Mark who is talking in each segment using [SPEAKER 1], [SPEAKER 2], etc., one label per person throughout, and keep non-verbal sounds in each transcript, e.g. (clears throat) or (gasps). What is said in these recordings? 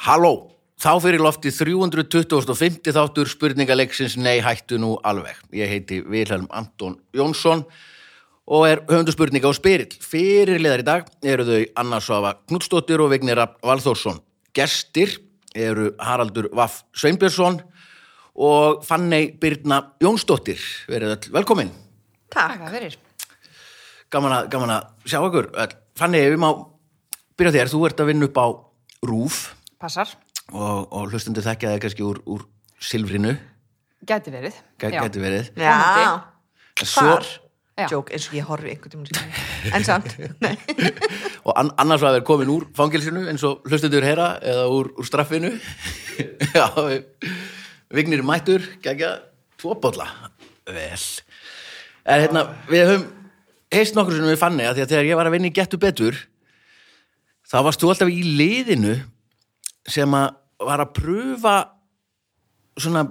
[SPEAKER 1] Halló, þá fyrir lofti 325. þáttur spurningaleiksins Nei, hættu nú alveg. Ég heiti Vilhelm Anton Jónsson og er höfundu spurninga og spyrill. Fyrirliðar í dag eru þau Anna Svafa Knudstóttir og Vignir Rafn Valþórsson. Gestir eru Haraldur Vaff Sveinbjörnsson og Fanney Birna Jónsdóttir. Verið öll velkomin.
[SPEAKER 2] Takk fyrir.
[SPEAKER 1] Gaman að, gaman að sjá ykkur. öll. Fanney, ef við má byrja á þér, þú ert að vinna upp á RÚF
[SPEAKER 2] Passar.
[SPEAKER 1] og, og hlustundu þekkja það kannski úr, úr silfrinu,
[SPEAKER 2] Gæti verið.
[SPEAKER 1] gæ-
[SPEAKER 2] Já.
[SPEAKER 1] gæti verið.
[SPEAKER 3] Já,
[SPEAKER 1] En Svo,
[SPEAKER 2] Já.
[SPEAKER 3] Jók, eins og ég horfi einhvern tímann sem En samt, nei
[SPEAKER 1] og an, annars var það komin úr fangilsinu eins og hlustundur heyra eða úr, úr straffinu. Já, við- vignir er mættur, gækja tvo bolla. Vel. En hérna, við höfum heist nokkur sem við fannig að því að þegar ég var að vinna í Gettu Betur, þá varst þú alltaf í liðinu sem að var að pröfa svona,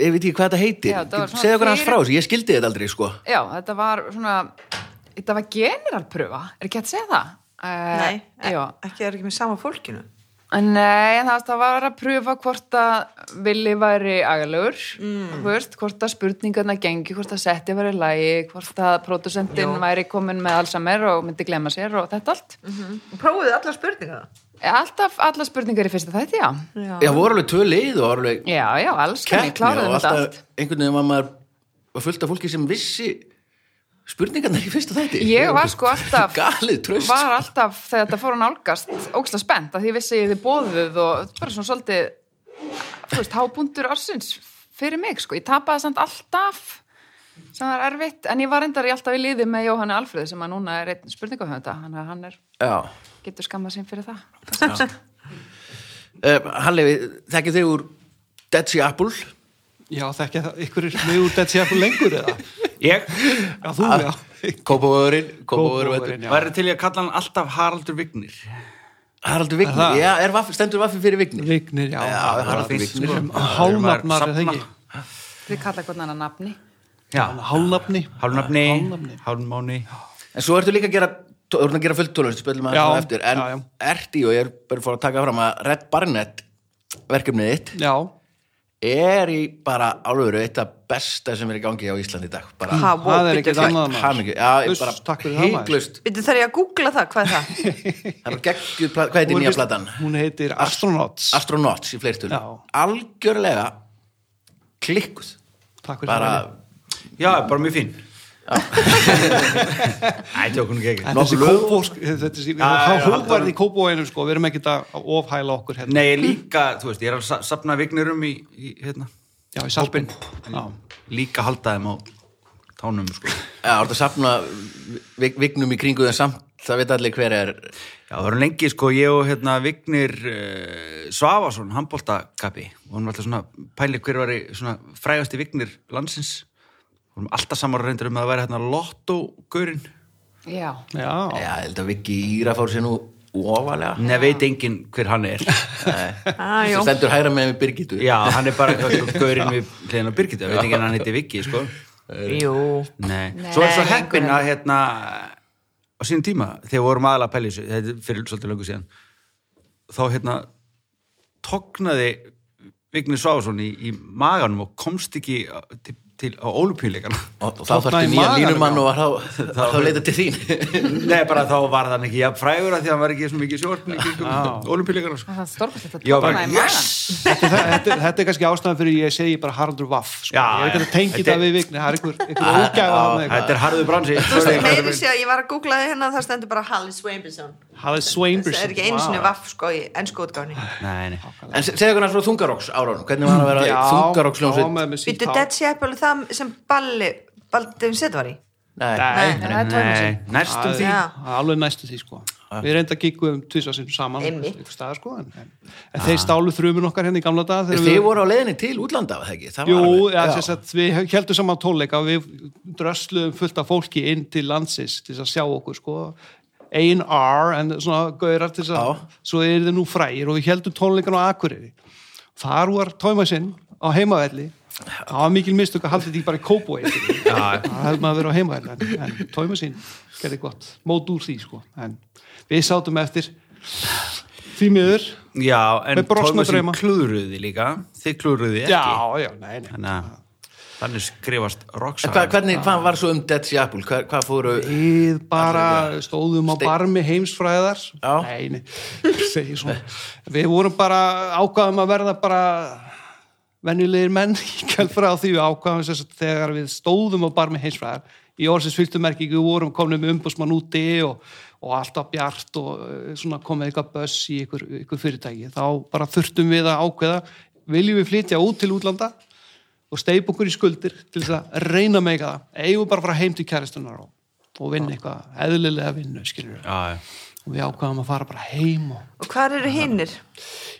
[SPEAKER 1] ég veit ekki hvað þetta heitir
[SPEAKER 2] Já, það var svona
[SPEAKER 1] segðu okkur hans
[SPEAKER 2] fyrir-
[SPEAKER 1] frá þessu, ég skildi þetta aldrei sko
[SPEAKER 2] (laughs) Já, þetta var svona, þetta var generalpröfa, er ekki hægt að segja það? Uh,
[SPEAKER 3] Nei, e-
[SPEAKER 2] Já,
[SPEAKER 3] ekki það er ekki með sama fólkinu
[SPEAKER 2] nei, það, það var að pröfa hvort að villi væri agalur, mm. veist, hvort að spurningarna gengi, hvort að setti væri lægi, hvort að pródusentinn væri komin með allsamer og myndi glemma sér og þetta allt.
[SPEAKER 3] Mm. Prófuðu alla spurninga
[SPEAKER 2] Alltaf, alla spurningar í fyrsta þætti, já.
[SPEAKER 3] Mm.
[SPEAKER 1] Já, voru alveg tvö lið og voru alveg
[SPEAKER 2] Já, já, alls kanni,
[SPEAKER 1] keppni
[SPEAKER 2] kláraðum
[SPEAKER 1] og
[SPEAKER 2] þetta allt.
[SPEAKER 1] alltaf einhvern veginn var maður var fullt af fólki sem vissi spurningarnar í fyrsta þætti
[SPEAKER 2] Ég var sko alltaf
[SPEAKER 1] galið tröst
[SPEAKER 2] var alltaf þegar þetta fór að nálgast ógstlega spennt að því ég vissi ég þið bóðuð og bara svona svolítið þú veist, hábúndur ársins fyrir mig sko, ég tapaði samt alltaf sem var erfitt, en ég var endar alltaf í liði með Jóhanni Alfreð sem að núna er einn spurningahönda, hann, hann er,
[SPEAKER 1] Já,
[SPEAKER 2] getur skammað sín fyrir það
[SPEAKER 3] (laughs)
[SPEAKER 1] uh, Halli, við- þekkið þig úr Dead Sea Apple
[SPEAKER 4] Já, þekkja það, ykkur er með úr Dead Sea Apple lengur eða?
[SPEAKER 5] Ég?
[SPEAKER 4] Já, þú,
[SPEAKER 1] Ah,
[SPEAKER 4] já.
[SPEAKER 1] Kópavöðurinn
[SPEAKER 4] Kópavogurinn, já.
[SPEAKER 5] Væri til ég að kalla hann alltaf Haraldur Vignir
[SPEAKER 1] Haraldur
[SPEAKER 4] Er það?
[SPEAKER 1] Vignir, já, er vaff, stendur vaffi fyrir Vignir
[SPEAKER 4] Vignir, já.
[SPEAKER 1] Já,
[SPEAKER 4] það var
[SPEAKER 1] Haraldur Vignir.
[SPEAKER 4] sem
[SPEAKER 5] Já,
[SPEAKER 4] Hálnafnar, er
[SPEAKER 5] maður
[SPEAKER 4] það ekki?
[SPEAKER 5] safna.
[SPEAKER 2] Þið kalla hvernig hann að nafni
[SPEAKER 5] Já,
[SPEAKER 4] Hálnafni.
[SPEAKER 5] hálfnafni, hálfmáni
[SPEAKER 1] En svo ertu líka að gera, þú ertu að gera fullt tónlist, spilum að
[SPEAKER 4] Já,
[SPEAKER 1] það eftir, en
[SPEAKER 4] já, já.
[SPEAKER 1] ert í, og ég er bara fór að taka fram að Red Barnett verkefnið þitt
[SPEAKER 4] Já,
[SPEAKER 1] er í bara alveg eitt af besta sem er í gangi á Íslandi í dag, bara
[SPEAKER 3] Ha, vó,
[SPEAKER 4] það er
[SPEAKER 3] byrju,
[SPEAKER 4] ekkert
[SPEAKER 3] hvað-
[SPEAKER 4] annað maður.
[SPEAKER 1] hamingju, já,
[SPEAKER 4] Uss,
[SPEAKER 1] bara
[SPEAKER 4] takk fyrir það, maður.
[SPEAKER 1] hygglust,
[SPEAKER 3] Byrju, þarf ég að googla það, hvað er (laughs) það?
[SPEAKER 1] það er geggjuð, pla- hvað heitir
[SPEAKER 4] Hún er
[SPEAKER 1] nýja
[SPEAKER 4] fyrst-
[SPEAKER 1] platan?
[SPEAKER 4] Hún heitir Astronauts.
[SPEAKER 1] Astronauts í fleirtunum,
[SPEAKER 4] Já.
[SPEAKER 1] algjörlega klikkuð,
[SPEAKER 4] Takk fyrir
[SPEAKER 1] bara
[SPEAKER 4] það.
[SPEAKER 5] Já, bara mjög fín Æ, tjókunum ekki
[SPEAKER 4] En
[SPEAKER 5] ekki.
[SPEAKER 4] þessi
[SPEAKER 1] nokkur lög-
[SPEAKER 4] kópósk, þetta er
[SPEAKER 5] Já, já, já,
[SPEAKER 4] hóvarð
[SPEAKER 5] halda-
[SPEAKER 4] í kópóinum, sko, við erum ekkert að að ofhæla okkur hérna.
[SPEAKER 5] Nei, ég líka, þú veist, ég er að sa- safna Vignirum í, í hérna
[SPEAKER 4] Já, í sarpin. Já,
[SPEAKER 5] Líka halda þeim á tánum, sko
[SPEAKER 1] já, orðið að safna vik- vignum í kringu það samt, það veit allir hver er,
[SPEAKER 5] Já, það voru lengi, sko, ég og hérna Vignir uh, Svavason, handbóltakappi og hann var alltaf svona pæli hver var svona frægasti Vignir landsins og hann alltaf samar reyndur um að það væri hérna lottógaurinn
[SPEAKER 2] Já,
[SPEAKER 4] já.
[SPEAKER 1] já, ég held að Viki Íra fór sér nú ofalega,
[SPEAKER 5] Nei, veit enginn hver hann er
[SPEAKER 3] Ah,
[SPEAKER 1] sem
[SPEAKER 3] jú.
[SPEAKER 1] stendur hægra með mig Birgitu,
[SPEAKER 5] Já, hann er bara eitthvað gaurinn við hliðin á Birgitta, veit ekki hann hann heiti Viki, sko
[SPEAKER 3] jú
[SPEAKER 5] Nei,
[SPEAKER 2] Nei.
[SPEAKER 5] svo er svo
[SPEAKER 3] Nei,
[SPEAKER 5] heppin
[SPEAKER 3] lengur
[SPEAKER 5] að hérna á sínum tíma, þegar við vorum aðalega að pæla í þessu þetta er fyrir svolítið löngu síðan þá hérna tognaði Vigni Sváðsson í, í maganum og komst ekki á- til, til á ólupíleikana
[SPEAKER 1] og og þá
[SPEAKER 4] Þarna
[SPEAKER 1] þarftu
[SPEAKER 4] í
[SPEAKER 1] nýja
[SPEAKER 4] maganum, já.
[SPEAKER 1] línumann og var þá- var þá leitað til þín.
[SPEAKER 5] Nei, bara þá var hann ekki jafn frægur að því að hann var ekki svo mikið sjórn í ólupíleikana sko.
[SPEAKER 2] það er stórkvæmst þetta
[SPEAKER 5] Já, bara,
[SPEAKER 2] í magann.
[SPEAKER 5] yes!
[SPEAKER 4] Þetta, er- þetta, er- þetta er kannski ástæðan fyrir ég segi bara Haraldur Vaff, sko.
[SPEAKER 5] Já,
[SPEAKER 4] ég er ekki
[SPEAKER 5] já.
[SPEAKER 4] að tengja
[SPEAKER 5] Þetta er-
[SPEAKER 4] það við Vignir, það er einhver, einhver ógæfa hann
[SPEAKER 5] Þetta er harðu bransi
[SPEAKER 3] Þú veist, meiri sé að ég var að googla það hérna það stendur bara Halli Swambison
[SPEAKER 4] Halle
[SPEAKER 3] Það
[SPEAKER 4] Swainbjörnsson.
[SPEAKER 3] er ekki einu sinni vaff, sko, í ennsku útgáni
[SPEAKER 5] Nei, nei
[SPEAKER 1] En se- segðu hvernig frá þungaróks árun, hvernig var að vera
[SPEAKER 4] Já, já,
[SPEAKER 1] þungaróksljómsveit?
[SPEAKER 4] með- með sítt
[SPEAKER 3] Býttu,
[SPEAKER 4] hár.
[SPEAKER 3] Dead Sea Apple, það sem Balli Baldum set var í
[SPEAKER 1] Nei,
[SPEAKER 4] Nei,
[SPEAKER 2] Nei, það er tónlistin.
[SPEAKER 5] næstum því
[SPEAKER 3] Já.
[SPEAKER 4] Það er alveg næstu því sko við reynda að gíkuðum tvisvar sinnum saman
[SPEAKER 3] Einmitt.
[SPEAKER 4] einhvers staðar, sko, en, en, en þeir stálu þrjumun okkar hérna í gamla dag þegar
[SPEAKER 1] þið
[SPEAKER 4] við-
[SPEAKER 1] voru á leiðinni til útlanda, var það ekki? Það var
[SPEAKER 4] Jú,
[SPEAKER 1] alveg-
[SPEAKER 4] ja, já. Að, við heldum saman tónleika og við drösluðum fullt af fólki inn til landsins til þess að sjá okkur sko A&R en svona gaurar til þess að svo er þið nú frægir og við heldum tónleikan á Akureyri þar var tómasinn á heimavelli það var mikil mistök að halda því bara í Kópói
[SPEAKER 5] Já.
[SPEAKER 4] það hefði maður að vera á heimavelli en, en tómasinn gerði gott, mót úr því sko en við sátum eftir því miður
[SPEAKER 5] Já, en
[SPEAKER 4] Með brosna drauma.
[SPEAKER 5] klúðruði líka Þið klúðruði ekki
[SPEAKER 4] já, já, nei, nei
[SPEAKER 5] Þannig að þannig skrifast
[SPEAKER 1] En hvað,
[SPEAKER 5] rocksaga
[SPEAKER 1] hvernig, hvað var svo um Dead Sea Apple? Hvað, hvað fóru...
[SPEAKER 4] við bara stóðum á
[SPEAKER 1] Steinn.
[SPEAKER 4] barmi heimsfræðar
[SPEAKER 1] Já.
[SPEAKER 4] nei, nei, segi svona við vorum bara ákvaðum að verða bara venjulegir menn í kjálfra á því við ákvaðum sem sagt, þegar við stóðum á barmi heimsfræðar í orðsins fylgtumerkingu vorum komnum með umbúsmann úti og, og alltaf bjart og eh, svona komið eitthvað böss í ykkur, ykkur fyrirtæki þá bara þurftum við að ákveða viljum við flytja út til útlanda og steipa okkur í skuldir til þess að reyna að meika það eigum við bara að fara heim til kæristunar og, og vinna eitthvað, eðlilega vinnu skilur við,
[SPEAKER 5] Já, já.
[SPEAKER 4] og við ákvaðum að fara bara heim og
[SPEAKER 3] Og hvað eru hinnir?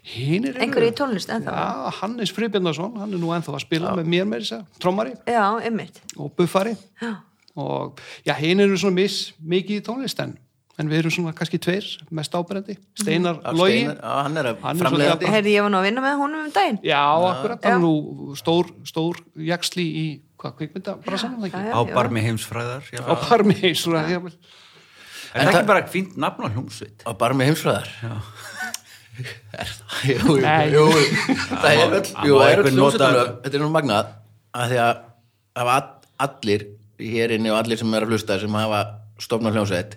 [SPEAKER 4] hinn er
[SPEAKER 3] Einhverju í tónlist ennþá?
[SPEAKER 4] Já, Hannes Fribjörnarsson, hann er nú ennþá að spila með mér með þess að, trommari
[SPEAKER 3] Já, einmitt.
[SPEAKER 4] og buffari
[SPEAKER 3] Já.
[SPEAKER 4] og já, hinn eru svona mis, mikið í tónlist en, en við erum svona kannski tveir mest ábyrjandi,
[SPEAKER 3] Mhm.
[SPEAKER 4] Steinar
[SPEAKER 1] Já,
[SPEAKER 4] Logi
[SPEAKER 1] Steinar- Já, hann er
[SPEAKER 4] Hann er
[SPEAKER 1] að
[SPEAKER 4] svolítið
[SPEAKER 1] framleiðandi.
[SPEAKER 3] Herði, ég var nú að vinna með honum um daginn.
[SPEAKER 4] Já, akkurat, hann
[SPEAKER 3] Já.
[SPEAKER 4] er nú stór, stór jaksli í, hvað, kvikmynda, bara saman það
[SPEAKER 3] já,
[SPEAKER 4] ekki,
[SPEAKER 5] á barmi heimsfræðar já.
[SPEAKER 4] á parmi, svona, jafnvel
[SPEAKER 5] Er það ekki bara fínt nafn á hljómsveit?
[SPEAKER 1] Á barmi heimsfræðar? Já. (laughs) Er það? Jú, jú,
[SPEAKER 4] Nei.
[SPEAKER 1] jú, jú. Það er öll,
[SPEAKER 5] það
[SPEAKER 1] jú,
[SPEAKER 5] má
[SPEAKER 1] það er öll
[SPEAKER 5] einhver nota-
[SPEAKER 1] hljómsveitunum. Þetta er nú magnað að því að hafa all- allir hér inni og allir sem eru að hlusta sem hafa stofnað hljómsveit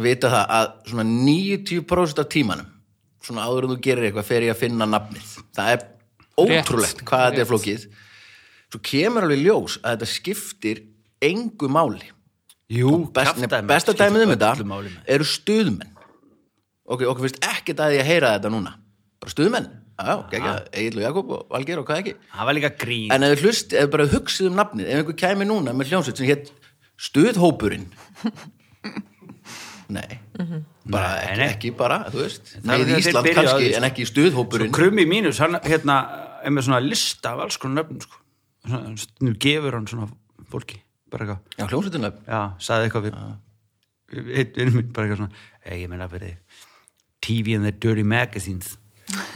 [SPEAKER 1] vita það að svona 90% af tímanum svona áður en þú gerir eitthvað fer ég að finna nafnið. Það er ótrúlegt hvað þetta er
[SPEAKER 4] rétt.
[SPEAKER 1] flókið. Svo kemur alveg í ljós að þetta skiptir engu máli
[SPEAKER 5] Jú,
[SPEAKER 1] best, nei, besta dæmið um þetta eru stuðmenn ok, okkur finnst ekkert að ég heyra þetta núna bara stuðmenn, já, já, Egil og Jakob og Valgeir og hvað ekki
[SPEAKER 5] Það var líka grín
[SPEAKER 1] en ef við hlust, ef við bara hugsið um nafnið ef einhver kæmi núna með hljómsveit sem hétt stuðhópurinn nei bara
[SPEAKER 5] Mhm. Nei,
[SPEAKER 1] ekki,
[SPEAKER 5] nei.
[SPEAKER 1] ekki bara, þú veist
[SPEAKER 5] er
[SPEAKER 1] með
[SPEAKER 5] þegar þeir
[SPEAKER 1] Ísland
[SPEAKER 5] byrja á
[SPEAKER 1] kannski,
[SPEAKER 5] því, sko.
[SPEAKER 1] en ekki
[SPEAKER 5] Svo
[SPEAKER 1] stuðhópurinn
[SPEAKER 5] krummi mínus, hann hérna er með svona lista af alls konar nöfnum sko. Svona, Nú gefur hann svona fólki bara eitthvað
[SPEAKER 1] já, hljómsveitunlega
[SPEAKER 5] Já, sagði eitthvað við við- einn vinnum minn, bara eitthvað svona "Ei, ég meina fyrir þig TV and the Dirty Magazines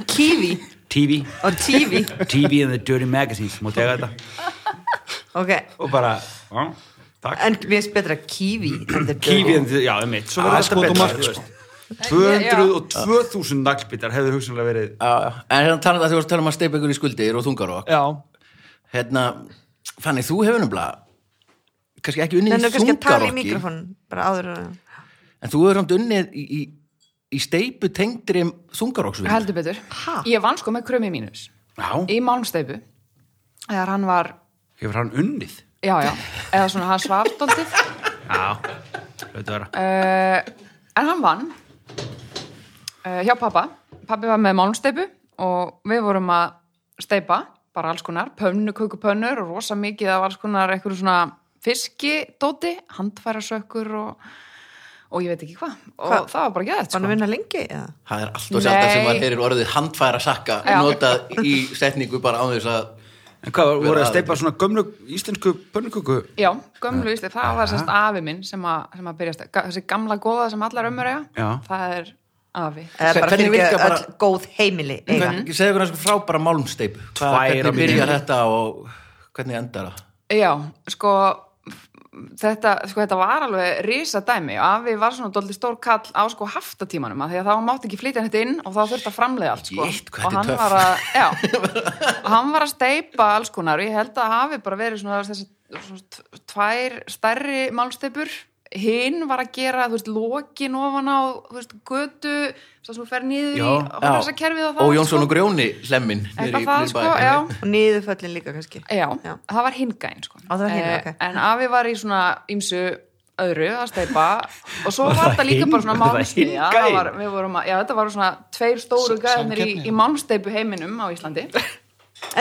[SPEAKER 3] Kiwi
[SPEAKER 5] TV,
[SPEAKER 3] og TV.
[SPEAKER 5] TV and the Dirty Magazines Má tega þetta
[SPEAKER 3] Ok,
[SPEAKER 5] og bara, já, takk
[SPEAKER 3] en mér finnst betra Kiwi. en the
[SPEAKER 5] TV
[SPEAKER 3] Dirty.
[SPEAKER 5] and the, já, um mitt, svo
[SPEAKER 4] Ah,
[SPEAKER 5] verður
[SPEAKER 4] skot og
[SPEAKER 5] þetta betra
[SPEAKER 4] mark,
[SPEAKER 5] þú
[SPEAKER 4] sko.
[SPEAKER 5] veist. 202.000 naglbítar hefðu hugsanlega verið
[SPEAKER 1] en hérna talaðu að þú varst að tala um að steipa ykkur í skuldir og þungar og
[SPEAKER 4] Já,
[SPEAKER 1] hérna, fannig þú hefur nefnilega kannski ekki unnið
[SPEAKER 3] Nennu
[SPEAKER 1] í
[SPEAKER 3] kannski að tala í
[SPEAKER 1] þungarokki. Sko.
[SPEAKER 3] mikrofón, bara áður en...
[SPEAKER 1] En þú hefur samt unnið í, í, í steipu tengdri þungaróksvinni.
[SPEAKER 2] heldur betur ég vann sko með krömi mínus
[SPEAKER 5] Já,
[SPEAKER 2] í málmsteipu þegar hann var,
[SPEAKER 5] hefur hann unnið
[SPEAKER 2] já já eða svona hann svafdóldið
[SPEAKER 5] Já, hlutu vera
[SPEAKER 2] uh, en hann vann uh, hjá pappa pappi var með málmsteipu og við vorum að steipa bara alls konar, pönnu, kukupönnur og rosa mikið af alls konar eitthvað svona fiskidóti, handfærasökkur og, og ég veit ekki hvað og
[SPEAKER 3] Hvað?
[SPEAKER 2] það var bara sko. gæðið
[SPEAKER 3] Var hann að vinna lengi? eða?
[SPEAKER 1] Það er alltaf sjálf
[SPEAKER 2] Nei.
[SPEAKER 1] sem að þeir eru orðið handfæra sakka
[SPEAKER 2] Já.
[SPEAKER 1] notað í setningu bara á þess að
[SPEAKER 5] En hvað, var- voru
[SPEAKER 1] Vera
[SPEAKER 5] að
[SPEAKER 1] að-
[SPEAKER 5] steipa svona gömlu íslensku pönnuköku
[SPEAKER 2] Já, gömlu ísli, það var sérst afi minn sem að, sem að byrjast, þessi gamla góða sem allar ömmur eiga,
[SPEAKER 5] Já.
[SPEAKER 2] það er afi
[SPEAKER 1] Se-
[SPEAKER 3] Eða bara
[SPEAKER 1] hvernig
[SPEAKER 3] fyrir ekki
[SPEAKER 1] virka bara- Mhm.
[SPEAKER 3] öll góð heimili eiga?
[SPEAKER 1] segja ykkur einhvers frábæra málmsteipu. Hvað,
[SPEAKER 5] Tvær á
[SPEAKER 1] hvernig byrjar
[SPEAKER 5] mínútu.
[SPEAKER 1] þetta og hvernig endar það?
[SPEAKER 2] Já, sko þetta, sko þetta var alveg risa dæmi og afi var svona dóldi stór kall á sko haftatímanum að því að þá mátti ekki flytja þetta inn og þá þurfti að framleiða allt sko.
[SPEAKER 1] Shit, hvað þetta
[SPEAKER 2] og
[SPEAKER 1] er
[SPEAKER 2] hann
[SPEAKER 1] töff.
[SPEAKER 2] var að
[SPEAKER 1] (laughs)
[SPEAKER 2] já, og hann var að steipa alls konar og ég held að hafi bara verið svona, þessi, svona t- tvær stærri málsteipur hinn var að gera, þú veist, lokin ofan á, þú veist, götu svo sem þú fer niður
[SPEAKER 5] Já,
[SPEAKER 2] í, og
[SPEAKER 1] Já.
[SPEAKER 2] þessa kerfið og það sko.
[SPEAKER 1] og Jónsson og Grjóni hlemmin.
[SPEAKER 2] eitthvað það sko, já
[SPEAKER 3] Og niðurföllin líka kannski?
[SPEAKER 2] Já,
[SPEAKER 3] Já.
[SPEAKER 2] það var hingæn sko.
[SPEAKER 3] Á, það var hinn,
[SPEAKER 2] Eh,
[SPEAKER 3] ok.
[SPEAKER 2] En afi var í svona ímsu öðru að steipa og svo var
[SPEAKER 5] (laughs) það
[SPEAKER 2] þetta líka
[SPEAKER 5] hinn-
[SPEAKER 2] bara svona
[SPEAKER 5] var það
[SPEAKER 2] málmsteipi já, það
[SPEAKER 5] hingæn?
[SPEAKER 2] var, við vorum að, já, þetta var svona tveir stóru gæðinir í,
[SPEAKER 4] samkeppni.
[SPEAKER 2] í málmsteipu heiminum á Íslandi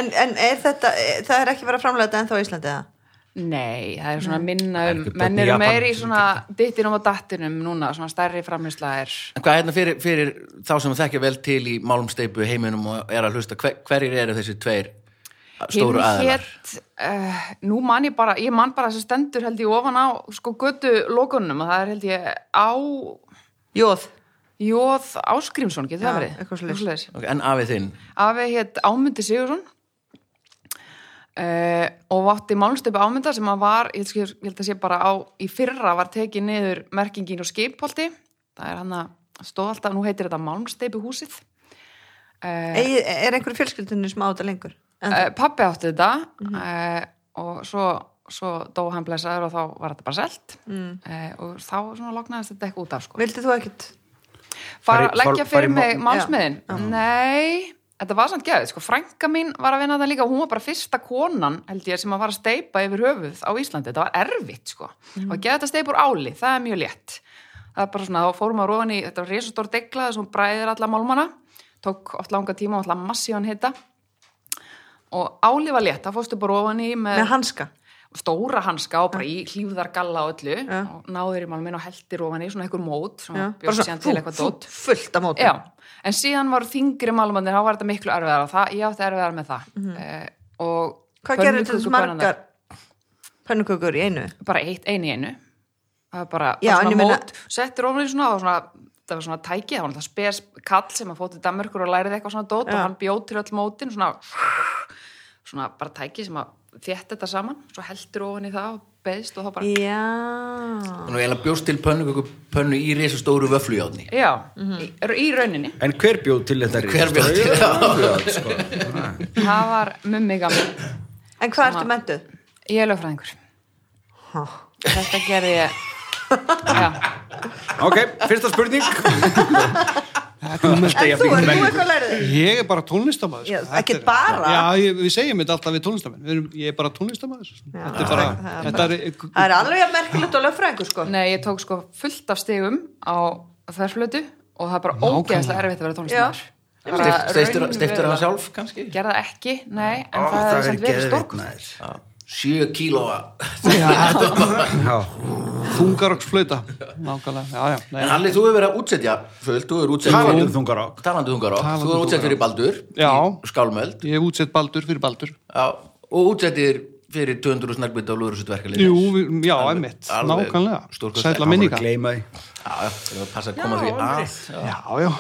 [SPEAKER 3] En, en er þetta, e- það er ekki verið að framlega þetta ennþá á Íslandi eða?
[SPEAKER 2] Nei, það er svona minna
[SPEAKER 5] Það er
[SPEAKER 2] um
[SPEAKER 5] ekki börn
[SPEAKER 2] menn
[SPEAKER 5] í
[SPEAKER 2] eru
[SPEAKER 5] Japan
[SPEAKER 2] meir í
[SPEAKER 5] sem
[SPEAKER 2] svona dittinum og dattinum núna, svona stærri framlýsla er
[SPEAKER 1] En hvað er hérna fyrir, fyrir þá sem þekkja vel til í málmsteipu heiminum og er að hlusta, hver, hverjir eru þessi tveir stóru
[SPEAKER 2] Hérna
[SPEAKER 1] aðilar?
[SPEAKER 2] hét, uh, Nú man ég bara, ég man bara þessi stendur held ég ofan á sko götu lokunum og það er held ég á
[SPEAKER 3] Jóð.
[SPEAKER 2] Jóð Áskrímsson, getur það
[SPEAKER 3] Já,
[SPEAKER 2] verið?
[SPEAKER 3] eitthvað svoleiðis.
[SPEAKER 2] svoleiðis.
[SPEAKER 1] Ok, En afið þinn,
[SPEAKER 2] Afi hétt Ámyndi Sigursson uh, og vátti málnstöpu ámynda sem að var, ég held, skil- ég held að sé bara á, í fyrra var tekið niður merkingin og skipholti, það er hann að stóð alltaf, nú heitir þetta Malmsteipi húsið
[SPEAKER 3] Eigi, er einhver fjölskyldunni sem á þetta lengur? En,
[SPEAKER 2] uh, pappi átti þetta uh, og svo, svo dó hann blessaður og þá var þetta bara selt uh, og þá svona loknaðist þetta eitthvað út af sko.
[SPEAKER 3] vildi þú ekkert?
[SPEAKER 2] fara,
[SPEAKER 5] Fari-
[SPEAKER 2] leggja
[SPEAKER 5] far- fara
[SPEAKER 2] fyrir
[SPEAKER 5] í
[SPEAKER 2] mig
[SPEAKER 5] mál-
[SPEAKER 2] málsmiðin nei, þetta var samt geðið sko, frænka mín var að vinna þetta líka og hún var bara fyrsta konan, held ég, sem að var að steipa yfir höfuð á Íslandi, þetta var erfitt sko,
[SPEAKER 5] Mhm.
[SPEAKER 2] og geða þetta steipa úr áli, það er mjög létt það er bara svona, þá fórum að róðan í þetta var risastór degla þess að hún bræðir alla málmana tók oft langa tíma og alltaf massívan hita og áli var létt, það fórstu bara róðan í með,
[SPEAKER 3] Með hanska?
[SPEAKER 2] stóra hanska og bara í hlýfðargalla og öllu
[SPEAKER 3] Ja.
[SPEAKER 2] og náður í málminn og heldir róðan í svona einhver mót sem
[SPEAKER 3] Já.
[SPEAKER 2] hún bjóst síðan til eitthvað dót
[SPEAKER 3] fullt af mótum.
[SPEAKER 2] Já, en síðan voru þingri málmannir, þá var þetta miklu erfiðar og það, ég átti erfiðar með það. Mm og
[SPEAKER 3] Mhm. Hvað gerir
[SPEAKER 2] pönnukökur-
[SPEAKER 3] þetta þessu margar pönnukökur í einu?
[SPEAKER 2] Bara eitt, einu í einu. Það var bara,
[SPEAKER 3] Já,
[SPEAKER 2] bara
[SPEAKER 3] en ég
[SPEAKER 2] svona
[SPEAKER 3] meina-
[SPEAKER 2] mót, settir ofan í svona, það var svona, það var svona tæki, það var náttúrulega spes kall sem að fótið Danmörkur og lærið eitthvað svona dót
[SPEAKER 3] Já.
[SPEAKER 2] og hann bjóð til öll mótin, svona, svona bara tæki sem að þétt þetta saman, svo heldur ofan í það og beðst og þá bara,
[SPEAKER 3] Já.
[SPEAKER 1] Þannig að eiginlega bjóst til pönnu, pönnu í risastóru vöflujárni.
[SPEAKER 2] já,
[SPEAKER 3] Mhm.
[SPEAKER 2] í, í rauninni.
[SPEAKER 5] En hver bjóð til þetta?
[SPEAKER 1] Hver bjó til
[SPEAKER 5] þetta? Sko.
[SPEAKER 2] Það var mummi gammal.
[SPEAKER 3] En hvað ertu mentuð?
[SPEAKER 2] Ég er lögfræðingur.
[SPEAKER 3] Ha.
[SPEAKER 2] Þetta gerði ég,
[SPEAKER 3] (laughs)
[SPEAKER 2] já.
[SPEAKER 5] Ok,
[SPEAKER 2] (laughs)
[SPEAKER 5] fyrsta spurning.
[SPEAKER 3] En þú, er þú eitthvað lærið?
[SPEAKER 4] Ég er bara tónlistamæður
[SPEAKER 3] Já, ekki bara?
[SPEAKER 4] Já, ég, við segjum þetta alltaf við tónlistamenn við erum, Ég er bara tónlistamæður Þetta er bara, þetta er,
[SPEAKER 3] Það er alveg jafn merkilegt og lögfræðingur sko.
[SPEAKER 2] Nei, ég tók sko fullt af stigum á þverflötu og það er bara
[SPEAKER 4] Nákvæmlega.
[SPEAKER 2] ógeðslega erfitt að vera tónlistamæður.
[SPEAKER 3] Já.
[SPEAKER 1] Steiftur hann sjálf kannski?
[SPEAKER 2] Gerða ekki, nei, en
[SPEAKER 5] Ó,
[SPEAKER 2] það er
[SPEAKER 5] er
[SPEAKER 2] samt verið
[SPEAKER 5] geðveikt,
[SPEAKER 2] stórk.
[SPEAKER 5] maður.
[SPEAKER 1] Já. Sjö kílóa.
[SPEAKER 5] Já,
[SPEAKER 4] þungarokksflöta Nákvæmlega, já, já
[SPEAKER 1] En
[SPEAKER 4] nei.
[SPEAKER 1] Halli, þú hefur verið að útsetja, Föld, þú hefur útsett
[SPEAKER 5] Talandi um þungarokk.
[SPEAKER 1] Talandi um þungarokk.
[SPEAKER 4] Talandi
[SPEAKER 1] Þú
[SPEAKER 4] um
[SPEAKER 1] hefur útsett fyrir Baldur.
[SPEAKER 4] Já.
[SPEAKER 1] í Skálmöld.
[SPEAKER 4] Ég hef útsett Baldur fyrir Baldur
[SPEAKER 1] Já. Og útsettir fyrir 200 snarkbytta á Lúðursutverkalið.
[SPEAKER 4] Jú, við- já,
[SPEAKER 1] Alveg-
[SPEAKER 4] emmitt,
[SPEAKER 1] alveg
[SPEAKER 4] nákvæmlega
[SPEAKER 1] stórkostlegt.
[SPEAKER 4] Sætla
[SPEAKER 5] hann var
[SPEAKER 4] minninga
[SPEAKER 5] að
[SPEAKER 4] Já,
[SPEAKER 5] gleyma því.
[SPEAKER 1] Já, já, það er að passa að koma því að.
[SPEAKER 4] já,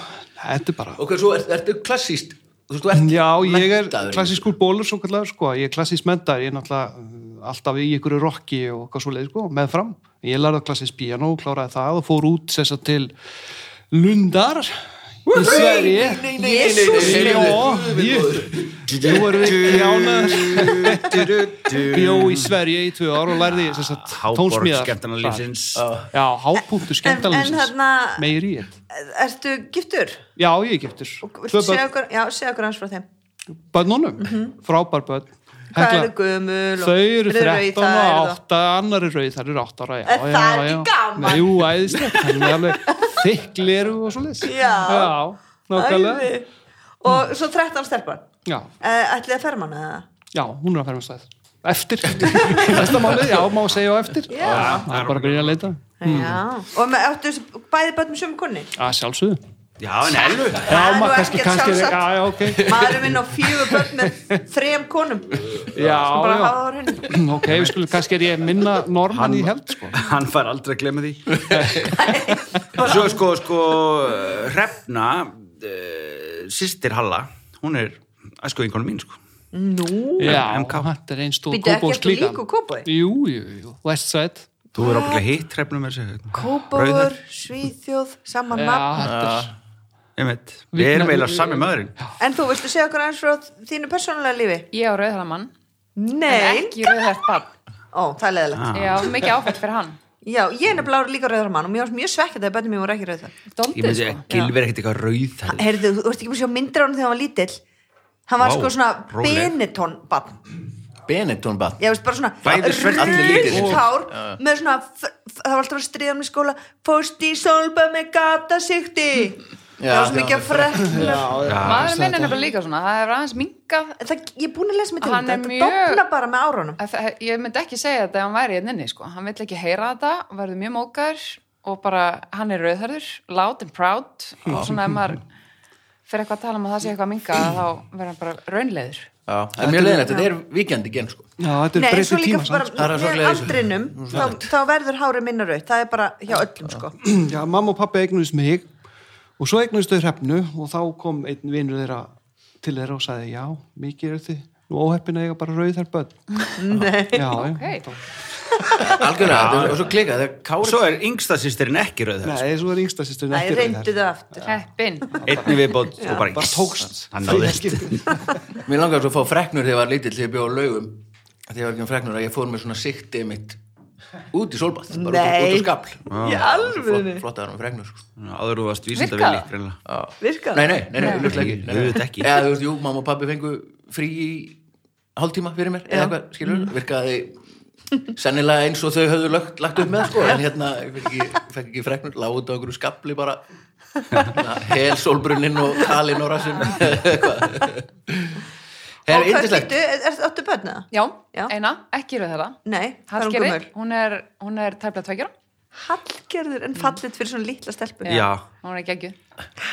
[SPEAKER 4] þetta er bara
[SPEAKER 1] Ok, svo er, ertu klassíst. Þú veist, þú ert
[SPEAKER 4] Já, ég er
[SPEAKER 1] menntaður í
[SPEAKER 4] klassískur bólur svo kallar, sko, ég er klassísk mentar, ég er náttúrulega uh, alltaf í ykkur rocki og hvað svo leið, sko, með fram. Ég lærði á klassísk piano, kláraði það og fór út sessa til Lundar í Sverige.
[SPEAKER 1] Nei, nei, nei, nei, nei, nei, nei,
[SPEAKER 4] Já, ég, nú erum við gjánaður, bjó í Sverige í tvö ár og lærði sessa tónsmíðar.
[SPEAKER 5] skemmtana lífsins.
[SPEAKER 1] Já.
[SPEAKER 4] Já, hápunktur
[SPEAKER 3] En- hérna- en
[SPEAKER 4] skemmtanalýsins,
[SPEAKER 3] þarna-
[SPEAKER 4] meiri ég.
[SPEAKER 3] Ertu giftur?
[SPEAKER 4] Já, ég er giftur.
[SPEAKER 3] Viltu
[SPEAKER 4] Tvö
[SPEAKER 3] segja
[SPEAKER 4] börn,
[SPEAKER 3] okkur, já, segja okkur hans frá þeim.
[SPEAKER 4] börnunum, frábær börn.
[SPEAKER 3] Mhm. Hvað
[SPEAKER 4] Hekla-
[SPEAKER 3] eru gömul? og-
[SPEAKER 4] Þau eru
[SPEAKER 3] rauð,
[SPEAKER 4] 13
[SPEAKER 3] það
[SPEAKER 4] og
[SPEAKER 3] eru þá.
[SPEAKER 4] 8, annar er rauð, þær eru 8 ára, já,
[SPEAKER 3] Er
[SPEAKER 4] já,
[SPEAKER 3] það
[SPEAKER 4] já.
[SPEAKER 3] ekki gaman?
[SPEAKER 4] Nei, Jú, æðislegt, hann er alveg þykkleru og svo leys.
[SPEAKER 3] Já.
[SPEAKER 4] Já, nákvæmlega.
[SPEAKER 3] Æði. Og svo 13 stelpar.
[SPEAKER 4] Já,
[SPEAKER 3] Uh, Ætlið að ferma hana eða?
[SPEAKER 4] já, hún er að færa með stæð. Eftir, (laughs) næsta máli, já, má segja á eftir.
[SPEAKER 3] Já.
[SPEAKER 4] Það er bara að byrja að leita.
[SPEAKER 3] Já, og með áttu þessi bæði börnum sömu konni
[SPEAKER 4] Að sjálfsögðu.
[SPEAKER 5] Já, en elvu.
[SPEAKER 4] Já,
[SPEAKER 3] er nú
[SPEAKER 4] maður kannski,
[SPEAKER 3] ekkert
[SPEAKER 4] kannski,
[SPEAKER 3] sjálfsagt.
[SPEAKER 4] já, já, ok.
[SPEAKER 3] maður er minn á fjögur börn með þrem konum
[SPEAKER 4] (laughs) Já,
[SPEAKER 3] bara
[SPEAKER 4] já,
[SPEAKER 3] hafa það á hreinu
[SPEAKER 4] (clears throat) ok, við skulum, kannski er ég minna norman í held, sko.
[SPEAKER 5] (laughs) Hann fær aldrei að glemma því. Svo sko, sko, Hrefna, uh, sýstir Halla, hún er æsku einhvern mín, sko.
[SPEAKER 4] Já,
[SPEAKER 5] MK.
[SPEAKER 4] þetta er einn stór
[SPEAKER 3] Býttu, ekki
[SPEAKER 4] kópós
[SPEAKER 3] ertu
[SPEAKER 4] líka.
[SPEAKER 3] líkur Kópavogi?
[SPEAKER 4] Jú, jú, jú, Westside.
[SPEAKER 5] Þú er ábygglega hitt Hrefna með þessu.
[SPEAKER 3] Kópavur, Svíþjóð, saman
[SPEAKER 4] Já,
[SPEAKER 3] nafn
[SPEAKER 4] þetta er...
[SPEAKER 5] Ég veit, við erum eiginlega sami maðurinn.
[SPEAKER 3] en þú viltu segja okkur aðeins frá þínu persónulega lífi
[SPEAKER 2] Ég á rauðhæða mann,
[SPEAKER 3] nei,
[SPEAKER 2] ekki rauðhæðt barn.
[SPEAKER 3] ó, það er leðilegt
[SPEAKER 5] Ah.
[SPEAKER 2] Já, mikið áfætt fyrir hann.
[SPEAKER 3] já, ég er nefnilega líka rauður mann og mér var mjög svekkjað að börnum mér voru ekki rauð það
[SPEAKER 5] Ég
[SPEAKER 2] Dóndið
[SPEAKER 5] myndi
[SPEAKER 2] sko.
[SPEAKER 5] að Gilvi er ekkert eitthvað rauð það.
[SPEAKER 3] heyrðu, þú ert ekki búin að sjá myndir á hann þegar hann var lítill hann var
[SPEAKER 5] Vá,
[SPEAKER 3] sko svona
[SPEAKER 5] róleg.
[SPEAKER 3] Benetton barn
[SPEAKER 1] Benetton barn.
[SPEAKER 3] ég veist bara
[SPEAKER 5] Bæði svört,
[SPEAKER 3] svona
[SPEAKER 1] allir lítill.
[SPEAKER 3] rultár með svona, f- f- það var alltaf að stríða mér í skóla fórst í solba með gatasíkti það var svo mikið að frekna
[SPEAKER 2] Maður minn er nefnilega líka svona, það er aðeins minkað.
[SPEAKER 3] En það, ég er búin að lesa mig til
[SPEAKER 2] Hann
[SPEAKER 3] þetta,
[SPEAKER 2] er
[SPEAKER 3] þetta
[SPEAKER 2] mjög-
[SPEAKER 3] dofna bara með árunum
[SPEAKER 2] að það- Ég myndi ekki segja þetta ef hann væri enninni, sko. Hann vill ekki heyra þetta, verður mjög mókaður og bara, hann er rauðhörður, loud and proud og svona ef maður fyrir eitthvað að tala um að það sé eitthvað að minga þá verður hann bara raunleður.
[SPEAKER 1] Já, það er mjög leiðin þetta. er víkjandi gen, sko.
[SPEAKER 4] Já, þetta er
[SPEAKER 3] Nei, en svo
[SPEAKER 4] breytið
[SPEAKER 3] líka
[SPEAKER 4] tíma
[SPEAKER 3] bara
[SPEAKER 4] bara...
[SPEAKER 1] Það er svo
[SPEAKER 3] með
[SPEAKER 1] gleðis-
[SPEAKER 3] aldrinum þá, þá verður hárið minna rauð það er bara hjá öllum sko
[SPEAKER 4] Já, mamma og pappi eignuðist mig og svo eignuðist þau hrefnu og þá kom einn vinur þeirra til þeirra og sagði já, mikið er þið nú óheppin að eiga bara rauð þær bönn
[SPEAKER 3] (laughs) Nei.
[SPEAKER 4] Já,
[SPEAKER 2] Ok.
[SPEAKER 4] já, þá-
[SPEAKER 1] algjörlega, þetta er- og svo klika þegar Kári,
[SPEAKER 5] Svo er yngsta sýstirinn ekki sko. rauð
[SPEAKER 4] Nei, þessu var yngsta sýsturinn
[SPEAKER 3] Æ,
[SPEAKER 4] ekki
[SPEAKER 3] reyndu það aftur
[SPEAKER 2] Heppin.
[SPEAKER 5] Einni viðbót og bara
[SPEAKER 4] Bara tókst.
[SPEAKER 5] Hann náði þetta.
[SPEAKER 1] mér langar svo að fá freknur þegar ég var lítill þegar ég bjóð á laugum þegar ég var ekki um freknur að ég fór með svona siktið mitt út í sólbað, bara út, á-
[SPEAKER 3] Nei.
[SPEAKER 1] út á skabl
[SPEAKER 3] Í alvöðinni,
[SPEAKER 1] Flott- flott að vera með freknur sko.
[SPEAKER 5] Áður þú varst vísinda
[SPEAKER 2] Virkaði
[SPEAKER 5] villi
[SPEAKER 2] það?
[SPEAKER 5] greinilega.
[SPEAKER 3] virka
[SPEAKER 1] nei, nei, nei, nei, nei,
[SPEAKER 5] Nei,
[SPEAKER 1] nei, nei,
[SPEAKER 5] auðvitað ekki.
[SPEAKER 1] eða þú veist, jú, mamma og pabbi fengu frí í hálftíma fyrir mér eða eitthvað, skilur, virkaði sennilega eins og þau höfðu lögt, lagt upp með sko, en hérna, ég fekk ekki, fekk ekki freknur lág út á einhverju skabli bara hérna, hel sólbrunnin og kalin og rassin (laughs)
[SPEAKER 3] Og
[SPEAKER 1] er
[SPEAKER 3] hvað
[SPEAKER 1] yndislegt
[SPEAKER 3] getur, er þetta áttu börna?
[SPEAKER 2] Já,
[SPEAKER 3] Já.
[SPEAKER 2] eina, ekki rauð þeirra.
[SPEAKER 3] Nei, hvað er hún
[SPEAKER 2] Hallgerði,
[SPEAKER 3] gömur?
[SPEAKER 2] hún er, hún er tæplega tveikjara.
[SPEAKER 3] Hallgerður, en fallit fyrir svona lítla stelpu
[SPEAKER 5] Já.
[SPEAKER 2] Hún er geggjuð.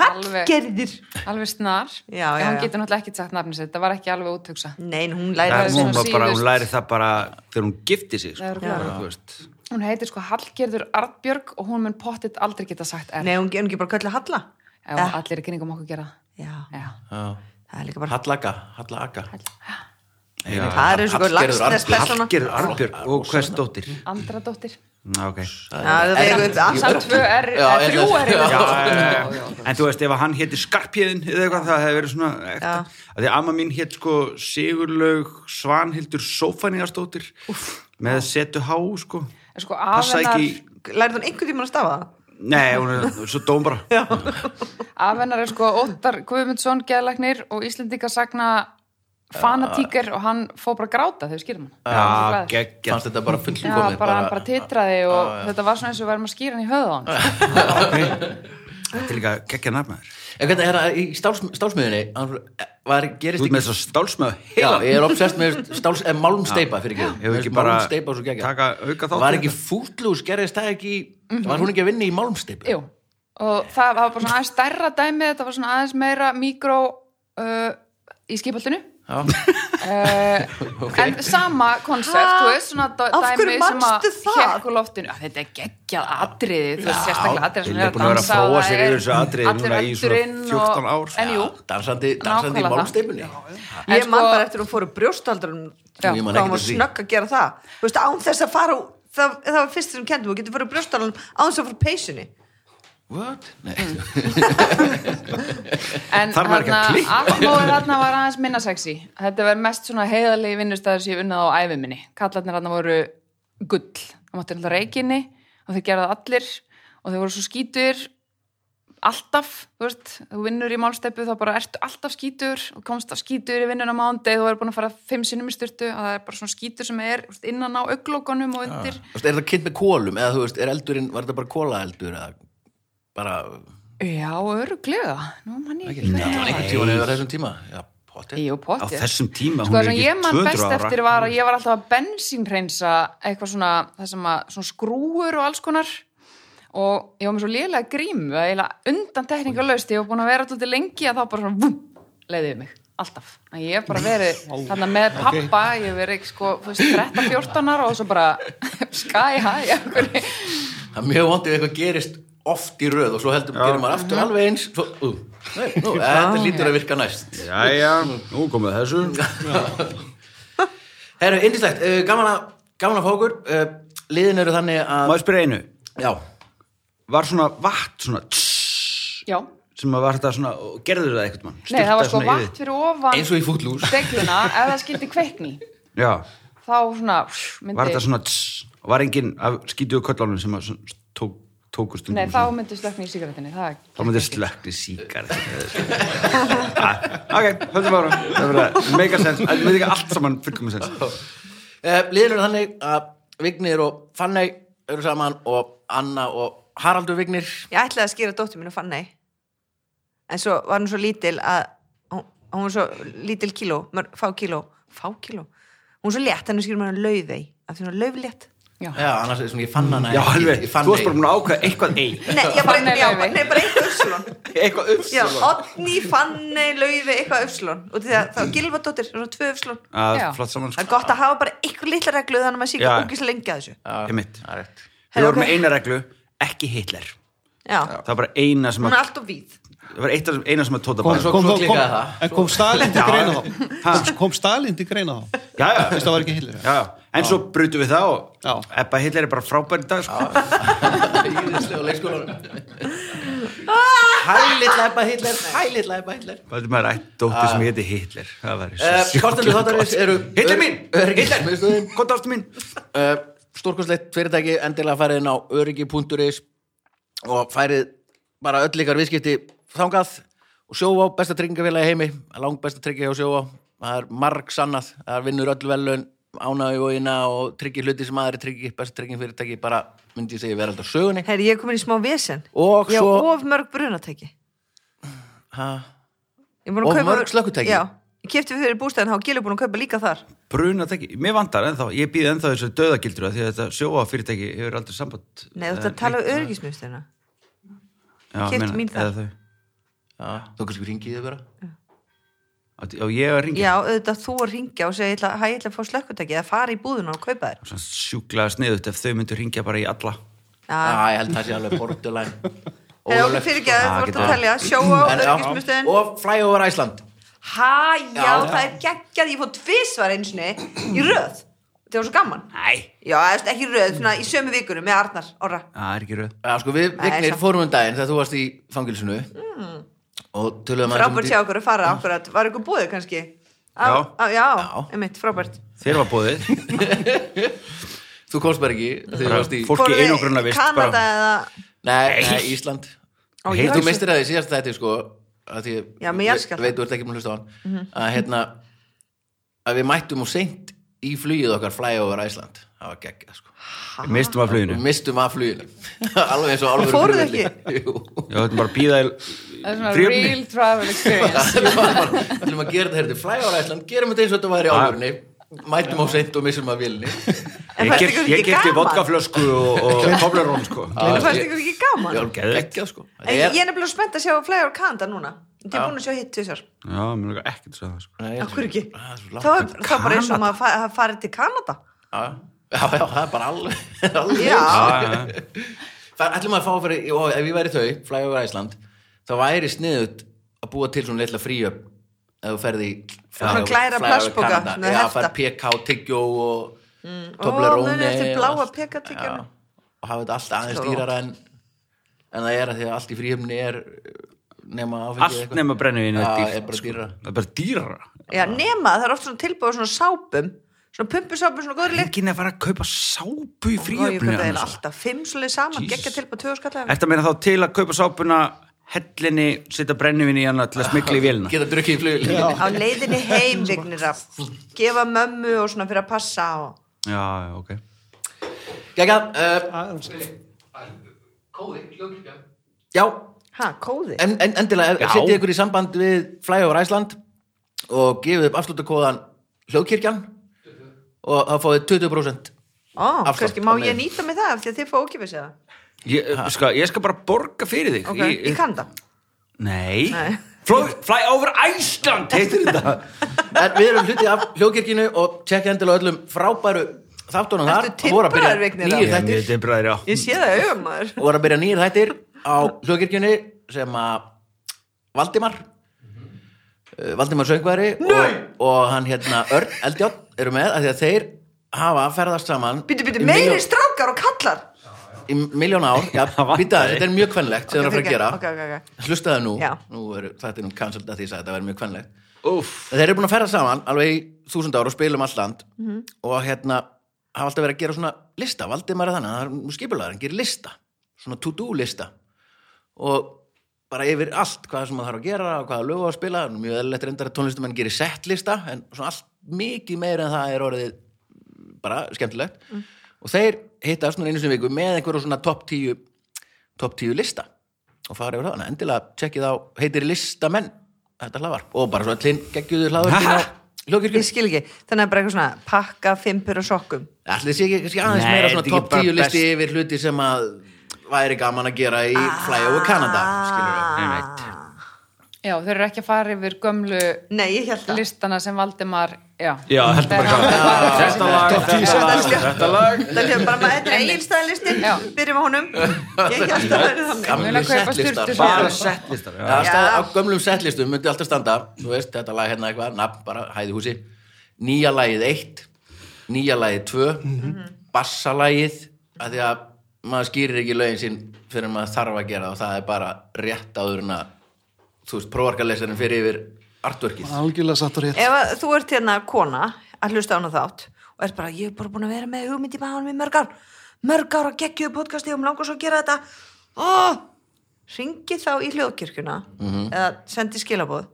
[SPEAKER 2] Alveg,
[SPEAKER 3] Hallgerður
[SPEAKER 2] alveg snar.
[SPEAKER 3] Já, já,
[SPEAKER 2] En
[SPEAKER 3] já.
[SPEAKER 2] Hún getur náttúrulega ekki sagt nafnið sitt. Það var ekki alveg útugsa.
[SPEAKER 3] Nei, en hún
[SPEAKER 5] Það
[SPEAKER 3] læra
[SPEAKER 5] er
[SPEAKER 2] svona
[SPEAKER 5] hún, bara,
[SPEAKER 2] síðust.
[SPEAKER 5] hún læri það bara þegar hún gifti sig sko.
[SPEAKER 2] Það er
[SPEAKER 5] Bara,
[SPEAKER 2] klart.
[SPEAKER 5] þú veist.
[SPEAKER 2] Hún heitir sko Hallgerður Arnbjörg og hún mun pottitt aldrei geta sagt er.
[SPEAKER 3] Nei, hún hún ekki bara köllu Halla
[SPEAKER 2] Ef
[SPEAKER 3] Eh.
[SPEAKER 2] allir í kynningum okkur gera það.
[SPEAKER 3] Já,
[SPEAKER 2] Já.
[SPEAKER 3] það er líka bara
[SPEAKER 1] Hallaka, Hallaka
[SPEAKER 5] Já.
[SPEAKER 3] Það er eins og
[SPEAKER 1] Hallgerður
[SPEAKER 3] lagsnes
[SPEAKER 1] Arnbjörg.
[SPEAKER 3] persóna
[SPEAKER 5] Hallgerður Arbjörg og hvers dóttir
[SPEAKER 2] Andra dóttir.
[SPEAKER 5] Ná, ok.
[SPEAKER 3] Já, það vegur upp allt.
[SPEAKER 2] Samt tvö er,
[SPEAKER 1] Já,
[SPEAKER 2] eh,
[SPEAKER 1] er-
[SPEAKER 2] þrjú er
[SPEAKER 1] Já,
[SPEAKER 2] yfir.
[SPEAKER 5] já, já. En þú veist, ef hann héti Skarpjöðin eða eitthvað, það hefur verið svona ekta. Af Því að amma mín hét sko Sigurlaug Svanhildur Sófaníastóttir með setu há, sko.
[SPEAKER 2] En Sko
[SPEAKER 5] Passa
[SPEAKER 2] afennar,
[SPEAKER 5] ekki...
[SPEAKER 3] Lærið hún einhvern tímann að stafa það?
[SPEAKER 5] Nei, hún er svo dóm bara. Já.
[SPEAKER 2] afennar er sko Óttar Guðmundsson geðlagnir og Íslendinga sagna fanatíker og hann fór bara að gráta þegar skýrum hann. Hann
[SPEAKER 5] Já,
[SPEAKER 2] var svo glaður.
[SPEAKER 5] geggja.
[SPEAKER 1] fannst þetta bara
[SPEAKER 2] Já,
[SPEAKER 1] fullkomið
[SPEAKER 2] bara, hann bara titraði og þetta var svona eins og við varum að skýra hann í höða hann. sko.
[SPEAKER 5] Þetta er líka geggja nafnaður.
[SPEAKER 1] En hvernig er það í stálsm- stálsmiðunni, hann- var, gerist
[SPEAKER 5] Þú
[SPEAKER 1] ekki
[SPEAKER 5] ert með þess að stálsmöðu
[SPEAKER 1] Já,
[SPEAKER 5] heila.
[SPEAKER 1] ég er obsessed með stáls, eh, málmsteipa fyrir ekki,
[SPEAKER 5] Hefur
[SPEAKER 1] Mér
[SPEAKER 5] ekki
[SPEAKER 1] finnst
[SPEAKER 5] bara
[SPEAKER 1] málmsteipa svo gegja
[SPEAKER 5] taka auka þátt
[SPEAKER 1] Var
[SPEAKER 5] í
[SPEAKER 1] ekki fútlús, gerðist það ekki Var hún ekki að vinna í málmsteipu?
[SPEAKER 2] Mhm. Jú, og það var bara svona aðeins stærra dæmi, þetta var svona aðeins meira mikró uh, í skipaldinu.
[SPEAKER 1] Já,
[SPEAKER 5] (laughs)
[SPEAKER 2] Uh, En sama konsept,
[SPEAKER 3] Ha?
[SPEAKER 2] þú veist, svona dæ-
[SPEAKER 3] Af hverju
[SPEAKER 2] dæmi sem að
[SPEAKER 3] manstu það?
[SPEAKER 2] hékk úr loftinu. Að þetta er geggjað atriði, þú veist, sérstaklega atriði sem
[SPEAKER 5] Lilli er búin að vera að
[SPEAKER 2] dansa,
[SPEAKER 5] fróa
[SPEAKER 2] það
[SPEAKER 5] sér
[SPEAKER 2] er
[SPEAKER 5] yfir þessu atriði
[SPEAKER 2] allur
[SPEAKER 5] núna í svona
[SPEAKER 2] veldurinn
[SPEAKER 5] 14 ár. sko.
[SPEAKER 2] Og, en jú,
[SPEAKER 1] dansandi, dansandi í
[SPEAKER 2] Nákvæmlega það.
[SPEAKER 1] málmsteipunni
[SPEAKER 2] En
[SPEAKER 3] Ég man
[SPEAKER 2] sko-
[SPEAKER 3] bara eftir hún fór úr brjóstaldrun
[SPEAKER 2] Já.
[SPEAKER 1] Ég man ekkert
[SPEAKER 3] hvað hún
[SPEAKER 1] eftir
[SPEAKER 3] var
[SPEAKER 1] því.
[SPEAKER 3] snögg að gera það Þú veist, án þess að fara úr það, það var fyrst sem kendum, hún getur farið úr brjóstaldrun án þess að fara úr peysunni
[SPEAKER 1] What? Nei,
[SPEAKER 2] Mm. en
[SPEAKER 5] Þarf maður ekki að
[SPEAKER 2] þarna-
[SPEAKER 5] klippa?
[SPEAKER 2] atmóið þarna var aðeins minna sexy. Þetta var mest svona heiðalegi vinnustæður sem ég unnað á æfi minni. Kallarnir þarna voru gull. Það mátti alltaf reikinni og þeir gerða allir og þeir voru svo skítur alltaf, þú veist, þú vinnur í málsteppu þá bara ertu alltaf skítur og komst af skítur í vinnuna mándegi, þú er búin að fara fimm sinnum í styrtu og það er bara svona skítur sem er þú veist, innan á auglókonum og undir
[SPEAKER 1] Þú
[SPEAKER 5] Ah.
[SPEAKER 1] veist, Er það kynnt með kólum? Eða þú veist, er eldurinn, var þetta bara kólaeldur? Eða bara,
[SPEAKER 2] Já, öruglega, nú mann ég
[SPEAKER 1] já,
[SPEAKER 2] ekki
[SPEAKER 1] það var einhvern tíma yfir þessum tíma Já, potið
[SPEAKER 2] Jú,
[SPEAKER 5] Á
[SPEAKER 2] pottið
[SPEAKER 5] þessum tíma,
[SPEAKER 2] Sko
[SPEAKER 5] hún er
[SPEAKER 2] það sem ég
[SPEAKER 5] ekki
[SPEAKER 2] man
[SPEAKER 5] 200
[SPEAKER 2] best
[SPEAKER 5] ára.
[SPEAKER 2] eftir var að ég var alltaf að bensínhreinsa eitthvað svona, það sem að svona skrúur og alls konar og ég var með svo lélega grímu að eiginlega undan tekninga laust, ég var búin að vera alltaf lengi að þá bara svona vum, leiðið mig alltaf, en ég hef bara verið þarna með pappa, ég hef verið sko þú veist, 13-14 ára og svo bara sky high einhverju.
[SPEAKER 1] Það er mjög vondið eitthvað gerist oft í röð og svo heldur gerir maður aftur alveg eins svo, uh, nei, nú, eh, Þetta lítur að virka næst
[SPEAKER 5] Jæja, nú komið þessu.
[SPEAKER 1] Herru, indislegt, uh, gaman að gaman að fá okkur uh, liðin eru þannig að
[SPEAKER 5] Má ég spyrja einu?
[SPEAKER 1] Já,
[SPEAKER 5] Var svona vatn, svona tss,
[SPEAKER 2] Já,
[SPEAKER 5] sem að var þetta svona, og gerður það eitthvað mann?
[SPEAKER 2] nei það var sko vatn fyrir ofan
[SPEAKER 1] eins og í fútlús
[SPEAKER 2] degluna ef það skildi kveikni
[SPEAKER 5] Já,
[SPEAKER 2] þá svona pff, myndi,
[SPEAKER 5] var þetta svona tss, og var enginn af skítuðu köllálunum sem að svona tók, tóku stundum?
[SPEAKER 2] nei þá myndi slökni í sigarettinni það
[SPEAKER 5] Þá myndir slökni síkar. Ah, ok, höldum ára. Það var það, mega sens. Það myndi ekki allt saman fullkomum sens.
[SPEAKER 1] uh, Liðin eru þannig að Vignir og Fanney eru saman og Anna og Haraldur Vignir
[SPEAKER 3] Ég ætlaði að skýra dóttir mín og fann nei en svo var hún svo lítil að hún, hún var svo lítil kíló mör, fá kíló, fá kíló hún var svo létt, henni skýrur maður lauðei af því hún var lauflétt
[SPEAKER 2] Já.
[SPEAKER 1] Já, annars er svona ég fann hana
[SPEAKER 5] Já,
[SPEAKER 1] ekki,
[SPEAKER 5] alveg,
[SPEAKER 1] ég fann
[SPEAKER 5] þú varst bara
[SPEAKER 1] hana-
[SPEAKER 5] búin að ákveða eitthvað ei.
[SPEAKER 3] Nei, ég bara,
[SPEAKER 2] Fanney
[SPEAKER 3] já,
[SPEAKER 2] Laufey.
[SPEAKER 3] nei, bara eitthvað uppslun
[SPEAKER 5] Eitthvað upp.
[SPEAKER 3] Já, Otni, Fanni, Laufi, eitthvað uppslun og því að það var Gilvardóttir, það var tvö uppslun
[SPEAKER 5] Að
[SPEAKER 2] Já.
[SPEAKER 5] flott saman,
[SPEAKER 3] Það er
[SPEAKER 5] sko.
[SPEAKER 3] gott að hafa bara eitthvað litla reglu þannig að maður sé ekki
[SPEAKER 5] Já.
[SPEAKER 3] ógis lengi að þessu.
[SPEAKER 1] Já,
[SPEAKER 5] Einmitt.
[SPEAKER 1] það er rétt.
[SPEAKER 5] Við vorum
[SPEAKER 3] ok.
[SPEAKER 5] með eina reglu, ekki Hitler.
[SPEAKER 3] Já,
[SPEAKER 5] Það var bara eina sem
[SPEAKER 3] hún
[SPEAKER 5] að,
[SPEAKER 3] er alltof víð.
[SPEAKER 5] það var eitt af- eina sem að tóta bara.
[SPEAKER 1] svo- svo klikkaði það.
[SPEAKER 4] en eh, kom Stalin til
[SPEAKER 5] Já.
[SPEAKER 4] greina þá kom, kom Stalin til greina þá
[SPEAKER 5] Já, já.
[SPEAKER 4] Þú veist, það var ekki heilir
[SPEAKER 5] Já, já. en svo brutum við það og
[SPEAKER 4] Já.
[SPEAKER 5] Ebba Hitler er bara frábær í dag sko.
[SPEAKER 1] Íðislega á leikskólanum Hæ litla Ebba Hitler Hæ litla Ebba Hitler
[SPEAKER 5] Hvað er maður ætt dóttir sem heiti Hitler? Það væri svo
[SPEAKER 1] Eh, Kostendur þáttarins eru
[SPEAKER 5] Hitler mín! Hitler!
[SPEAKER 1] Hitler
[SPEAKER 5] Hvað dóttir mín?
[SPEAKER 1] Stórkosleitt Eh, fyrirtæki endilega færið inn á öryggi.is og færið bara öll ykkar viðskipti þangað og sjóvá, besta tryggingafélagi í heimi langt besta tryggja hjá sjóvá það er marg sannað, það vinnur öll velun ánægju og ína og tryggi hluti sem aðri tryggi, besta trygging fyrirtæki bara myndi ég segja vera alltaf sögunni
[SPEAKER 3] Herri, ég er komin í smá vesen
[SPEAKER 1] Og
[SPEAKER 3] Ég á
[SPEAKER 1] svo-
[SPEAKER 3] of mörg brunatæki
[SPEAKER 1] ha,
[SPEAKER 3] Ég er búin að
[SPEAKER 1] Of
[SPEAKER 3] kaupa-
[SPEAKER 1] mörg slökkutæki?
[SPEAKER 3] Já, ég kefti fyrir bústæðan og Gil er búin að kaupa líka þar
[SPEAKER 5] Bruna tæki, mér vantar ennþá, ég býð ennþá þessu döðagildur því að þetta sjóa fyrirtæki hefur aldrei samband
[SPEAKER 3] Nei, þú ert að tala um öryggismiðstöðina
[SPEAKER 5] Já,
[SPEAKER 3] keyptu
[SPEAKER 5] meina,
[SPEAKER 3] mín þar.
[SPEAKER 5] eða þau.
[SPEAKER 1] já, þú kannski ringið þau bara
[SPEAKER 5] Átti- Já, ég er að ringja
[SPEAKER 3] Já, auðvitað þú að ringja og segja, ég ætla, hæ, ég ætla að fá slökkutæki eða fara í búðuna og kaupa þér
[SPEAKER 5] Svona sjúklega sniðut ef þau myndu ringja bara í alla
[SPEAKER 1] Já,
[SPEAKER 3] Já,
[SPEAKER 1] ég held það sé alveg borderline
[SPEAKER 3] Herra, ok,
[SPEAKER 1] Ólöglegt. sko.
[SPEAKER 3] fyrir ekki að
[SPEAKER 5] Já,
[SPEAKER 3] þú ert
[SPEAKER 5] getur
[SPEAKER 3] að
[SPEAKER 5] það.
[SPEAKER 3] telja Sjóa og
[SPEAKER 1] Ah, En já,
[SPEAKER 3] öryggismiðstöðin
[SPEAKER 1] Og flyover Iceland
[SPEAKER 3] Hæ, já,
[SPEAKER 1] Já.
[SPEAKER 3] það er geggjað, ég fór tvisvar einu sinni í röð Það var svo gaman
[SPEAKER 5] Nei
[SPEAKER 3] Já, þú veist, ekki í röð, svona í sömu vikunum með Arnar, orra
[SPEAKER 5] Það er ekki röð
[SPEAKER 1] Já, sko, við
[SPEAKER 3] Nei,
[SPEAKER 1] vignir
[SPEAKER 3] samt. Mm.
[SPEAKER 1] fórum um daginn þegar þú varst í fangilsinu og töluðum aðeins um
[SPEAKER 3] Frábært
[SPEAKER 1] dý-
[SPEAKER 3] hjá okkur að fara akkurat, var ykkur búið kannski?
[SPEAKER 5] Já.
[SPEAKER 3] á, Já,
[SPEAKER 1] Já.
[SPEAKER 3] einmitt, frábært
[SPEAKER 5] Þér var bóðið
[SPEAKER 1] Þú komst bara ekki þegar þú varst í...
[SPEAKER 5] Fólk- Fólki
[SPEAKER 3] Fóruð þið
[SPEAKER 5] einangrunarvist,
[SPEAKER 3] í Kanada
[SPEAKER 5] bara-
[SPEAKER 3] eða
[SPEAKER 1] Nei, nei, Ísland.
[SPEAKER 3] Ó, ég
[SPEAKER 1] Hey, þú
[SPEAKER 3] hugsa-
[SPEAKER 1] mistir að því síðast þetta, sko, að því ég
[SPEAKER 3] Já, með jarðskjálfta.
[SPEAKER 1] veit, þú ert ekki múin að hlusta á hann,
[SPEAKER 3] Mhm.
[SPEAKER 1] að hérna, að við mættum og seint í flugið okkar fly over Ísland. Það var geggjað, sko.
[SPEAKER 5] Mistum af fluginu
[SPEAKER 1] Við mistum af fluginu. (laughs) Alveg eins og alveg...
[SPEAKER 3] Fóruð þið
[SPEAKER 1] (laughs) Jú.
[SPEAKER 5] Já, þetta er bara að býða í
[SPEAKER 2] Það er svona
[SPEAKER 5] fríöfni.
[SPEAKER 2] real travel experience
[SPEAKER 1] Það var bara, Við ætlum að gera þetta hérna til fly over Ísland, gerum þetta eins og þetta var í álurni, mættum á seint og missum af vilni.
[SPEAKER 3] En
[SPEAKER 5] Ég
[SPEAKER 3] fannst
[SPEAKER 5] keypt-
[SPEAKER 3] ykkur
[SPEAKER 5] Ég
[SPEAKER 3] ekki
[SPEAKER 5] kefti
[SPEAKER 3] gaman?
[SPEAKER 5] vodkaflösku og,
[SPEAKER 3] (laughs)
[SPEAKER 5] og koflarón sko
[SPEAKER 3] En fannst ykkur ekki gaman?
[SPEAKER 1] Já,
[SPEAKER 5] Geðveikt.
[SPEAKER 1] geggjað, sko.
[SPEAKER 3] En
[SPEAKER 1] Þetta
[SPEAKER 3] ég
[SPEAKER 1] er-
[SPEAKER 3] er nefnilega spennt að sjá Flyover Canada núna Þið er búin að sjá hitt tvisar
[SPEAKER 5] Já, mér er ekkert að segja það sko
[SPEAKER 1] Nei, ég-
[SPEAKER 3] Akkur ekki
[SPEAKER 1] Það er svo langt.
[SPEAKER 3] Þá er þá er bara eins og maður fa- hafi farið til Kanada
[SPEAKER 1] já, já, já, það er bara alveg, (laughs) alveg.
[SPEAKER 3] Já.
[SPEAKER 5] Já, já, já.
[SPEAKER 1] Það ætlum að fá fyrir, og ef ég væri þau, fly over Iceland, þá væri sniðut að búa til svona litla fríöp ef þú ferði í
[SPEAKER 3] Svona glæra plastpoka, svona
[SPEAKER 1] Já,
[SPEAKER 3] hefta.
[SPEAKER 1] fær PK, tyggjó og mm,
[SPEAKER 3] ó,
[SPEAKER 1] Toblerone
[SPEAKER 3] munið eftir
[SPEAKER 1] og
[SPEAKER 3] bláa
[SPEAKER 1] allt.
[SPEAKER 3] PK-tyggjónu.
[SPEAKER 1] Já, Og hafa þetta allt aðeins
[SPEAKER 3] Svo
[SPEAKER 1] dýrara en, en það er að því að allt í fríöfni er eh, nema áfengið
[SPEAKER 5] Allt nema brennivínu
[SPEAKER 1] Já,
[SPEAKER 5] er
[SPEAKER 1] er
[SPEAKER 5] dýrt
[SPEAKER 1] bara
[SPEAKER 5] sko.
[SPEAKER 1] dýrara.
[SPEAKER 5] Það er bara dýrara
[SPEAKER 3] Já, nema það er oft svona tilbúið svona sápum Svona pumpusápum, svona góður líkt
[SPEAKER 5] Enginn er að fara að kaupa sápu
[SPEAKER 3] Og
[SPEAKER 5] í
[SPEAKER 3] ég
[SPEAKER 5] fríöfni
[SPEAKER 3] köpa þeir
[SPEAKER 5] annars.
[SPEAKER 3] alltaf fimm svolítið saman
[SPEAKER 5] Jesus.
[SPEAKER 3] Gekka tilbúið tvö skallega
[SPEAKER 5] Ertu að meina þá til að kaupa sápuna hellinni, setja brennivinni í hana til að smikla í vélina?
[SPEAKER 1] Geta drukkið í flugil
[SPEAKER 3] Á leiðinni
[SPEAKER 5] (laughs)
[SPEAKER 3] heim vignir að gefa mömmu og svona fyrir að passa og
[SPEAKER 5] Já, já, ok.
[SPEAKER 1] Gægjað uh, Kóði, hljókja Já,
[SPEAKER 3] Ha, kóði?
[SPEAKER 1] en, en, endilega
[SPEAKER 5] Já.
[SPEAKER 1] setjið ykkur í samband við Flyover Iceland og gefið upp afslutakóðan hljóðkirkjan og þá fáið 20%
[SPEAKER 3] Ó,
[SPEAKER 1] afslátt
[SPEAKER 3] kannski má
[SPEAKER 1] á
[SPEAKER 3] ég
[SPEAKER 1] leiðinni.
[SPEAKER 3] nýta mig það af því að þið fá ókipis eða
[SPEAKER 5] Ég, ska, ég skal bara borga fyrir þig.
[SPEAKER 3] Ok, ég kann það
[SPEAKER 5] Nei.
[SPEAKER 3] Nei.
[SPEAKER 5] Fly, fly over Iceland, heitir þetta.
[SPEAKER 3] (laughs)
[SPEAKER 1] en við erum hluti af hljóðkirkjunu og tjekkið endilega öllum frábæru þáttunum þar
[SPEAKER 3] Ertu
[SPEAKER 1] Það voru að byrja
[SPEAKER 3] tilbúnar, Vignir,
[SPEAKER 1] nýjir
[SPEAKER 5] Ég er
[SPEAKER 1] þættir
[SPEAKER 5] mjög debraður, já.
[SPEAKER 3] Ég sé það í augum maður
[SPEAKER 1] (laughs) og voru að byrja nýjir þættir á hljóðkirkjunu sem að Valdimar
[SPEAKER 3] Mhm.
[SPEAKER 1] eh, Valdimar söngværi og, og hann hérna Örn Eldjátt eru með af því að þeir hafa ferðast saman
[SPEAKER 3] Býtu, býtu,
[SPEAKER 1] í
[SPEAKER 3] meiri
[SPEAKER 1] milljón-
[SPEAKER 3] strákar og kallar
[SPEAKER 1] í miljón
[SPEAKER 3] (laughs)
[SPEAKER 1] ár já,
[SPEAKER 5] Það vantaði.
[SPEAKER 1] býta, þetta er mjög kvenlegt sem það er að fara að gera
[SPEAKER 3] Ok, ok, ok
[SPEAKER 1] hlustaðu nú,
[SPEAKER 3] Já.
[SPEAKER 1] nú er þetta nú cancelled að því að þetta verður mjög kvenlegt
[SPEAKER 5] Úf.
[SPEAKER 1] En þeir eru búin að ferða saman alveg í þúsund ár og spila um allt land
[SPEAKER 3] Mhm.
[SPEAKER 1] og hérna hafa alltaf verið að gera svona lista, Valdimar er þannig, það er skipulaður hann gerir lista, svona to-do lista og bara yfir allt hvað sem maður þarf að gera og hvaða lög á að spila, Nú, mjög eðlilegt reyndar að tónlistum gerir settlista, en svona allt mikið meira en það er orðið bara skemmtilegt og þeir hittast núna einu sinni í viku með einhverju svona topp 10 topp 10 lista og fara yfir það, endilega tjekkið á heitir listamenn, þetta hlaðvarp og bara svo allir geggjuðu hlaðvarp
[SPEAKER 5] (laughs)
[SPEAKER 1] á
[SPEAKER 3] Ég
[SPEAKER 1] hljókirkjum,
[SPEAKER 3] skil ekki, þannig að bara eitthvað svona pakka, fimpur og sokkum
[SPEAKER 1] allir sé ekki kannski aðeins
[SPEAKER 5] Nei,
[SPEAKER 1] meira
[SPEAKER 5] þetta
[SPEAKER 1] svona
[SPEAKER 5] er ekki
[SPEAKER 1] topp
[SPEAKER 5] bara
[SPEAKER 1] 10 listi
[SPEAKER 5] best.
[SPEAKER 1] yfir hluti sem að væri gaman að gera í Flyover Canada,
[SPEAKER 3] Ah.
[SPEAKER 1] skilur við
[SPEAKER 2] (laughs) Já, þau eru ekki að fara yfir gömlu
[SPEAKER 3] Nei, ég held það
[SPEAKER 2] listana sem Valdimar Já,
[SPEAKER 5] Já, þetta er bara
[SPEAKER 2] Já.
[SPEAKER 5] hvað. Þetta lag, þetta lag, þetta lag.
[SPEAKER 3] Það er bara maður, þetta er
[SPEAKER 2] Einmitt.
[SPEAKER 3] eiginstæðlistin
[SPEAKER 2] Já.
[SPEAKER 3] Byrjum á honum Ég held það verið þannig
[SPEAKER 1] Gamli
[SPEAKER 2] Muna kaupa
[SPEAKER 1] settlistar.
[SPEAKER 2] sturtu
[SPEAKER 5] Bara settlistar. já.
[SPEAKER 1] Já,
[SPEAKER 3] Já.
[SPEAKER 1] stað, á gömlum settlistum myndi alltaf standa þú veist, þetta lag hérna eitthvað, nafn bara hæði húsi nýja lagið eitt nýja lagið 2 bassalagið að því að maður skýrir ekki lögin sín fyrir en maður þarf að gera það og það er bara rétt áður en að þú veist, prófarkalesarinn fyrir yfir artworkið
[SPEAKER 4] algjörlega sattur hér
[SPEAKER 3] Ef að þú ert hérna kona að hlusta án og þátt og ert bara, ég er bara búin að vera með hugmynd í maðanum í mörg ár, mörg ár að geggjuðu podcasti og um langar svo að gera þetta Ó, ringi þá í hljóðkirkjuna eða sendi skilabóð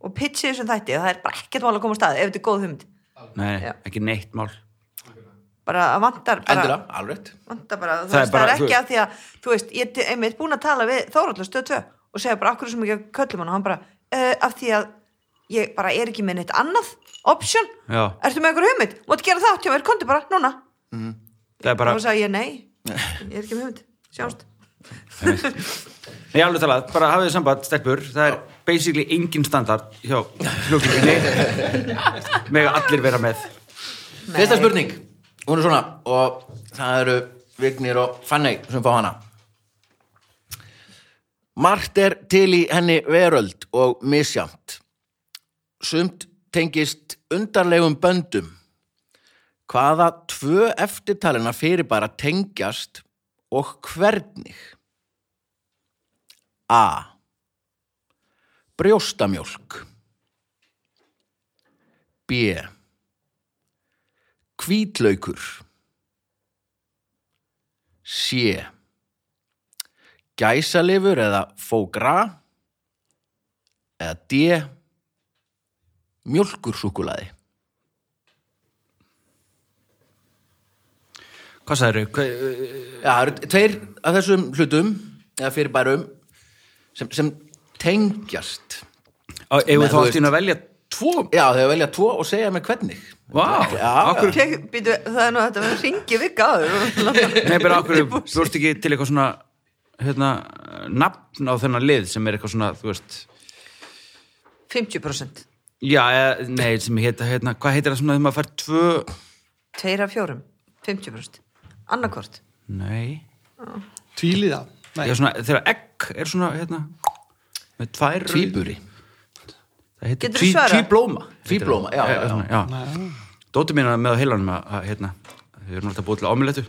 [SPEAKER 3] og pitchi þessum þætti og það er bara ekkert mál að koma á stað ef þetta er góð hugmynd
[SPEAKER 5] Nei, ekki neitt mál
[SPEAKER 3] bara að vantar bara,
[SPEAKER 1] endur það, alveg
[SPEAKER 3] vantar bara, það,
[SPEAKER 5] Það er
[SPEAKER 3] veist, það
[SPEAKER 5] bara-
[SPEAKER 3] er ekki
[SPEAKER 5] þú-
[SPEAKER 3] að því að þú veist, ég er til- einmitt búin að tala við Þóraldur stöð 2 og segja bara akkur sem ekki að köllum hann og hann bara, uh, af því að ég bara er ekki með neitt annað option,
[SPEAKER 5] Já.
[SPEAKER 3] ertu með einhver hugmynd móti gera það, tjá mér, komdu bara, núna
[SPEAKER 5] Það er bara,
[SPEAKER 3] og þá sagði ég nei, ég er ekki með hugmynd sjáumst,
[SPEAKER 5] nei alveg talað, bara hafið þið samband, stelpur Það er basically engin standard hjá hljókninni Mega allir vera með
[SPEAKER 1] Fyrsta spurning, hún er svona og það eru Vignir og Fanny sem fá hana Margt er til í henni veröld og misjamt Sumt tengist undarlegum böndum Hvaða tvö eftirtalina fyrir bara tengjast og hvernig? A. Brjóstamjólk B. Hvítlaukur Sjö Gæsalifur eða fógra eða D Mjölkursúkulaði
[SPEAKER 5] Hvað sagðið þau?
[SPEAKER 1] Já, það eru tveir af þessum hlutum eða fyrirbærum sem, sem tengjast
[SPEAKER 5] Ef
[SPEAKER 1] Með,
[SPEAKER 5] við þá
[SPEAKER 1] þú
[SPEAKER 5] allt í einu að velja
[SPEAKER 1] Tvo? Já, þau velja tvo og segja mér hvernig
[SPEAKER 5] Vá,
[SPEAKER 1] Já,
[SPEAKER 5] akkur,
[SPEAKER 3] Tek, býtu, það er nú þetta að ringi vika áður
[SPEAKER 5] nei, bara akkur Bjóst ekki til eitthvað svona hérna, nafn á þennan lið sem er eitthvað svona, þú veist
[SPEAKER 3] 50%
[SPEAKER 5] Já, eða, nei, sem heita, hérna, hvað heitir það svona þegar maður fær tvö
[SPEAKER 3] tveir af fjórum, 50% annarkvort,
[SPEAKER 5] Nei,
[SPEAKER 4] tvíliða Nei,
[SPEAKER 5] Já, svona, þegar egg er svona, hérna með tvær
[SPEAKER 1] Tvíburi
[SPEAKER 5] Það heitir
[SPEAKER 3] Geturðu svarað?
[SPEAKER 5] tvíblóma
[SPEAKER 1] Tvíblóma, já, já, já.
[SPEAKER 5] Eh, svona, já. Dóttir mín er með á heilanum að, að hérna, við erum alltaf búið til ámjöletu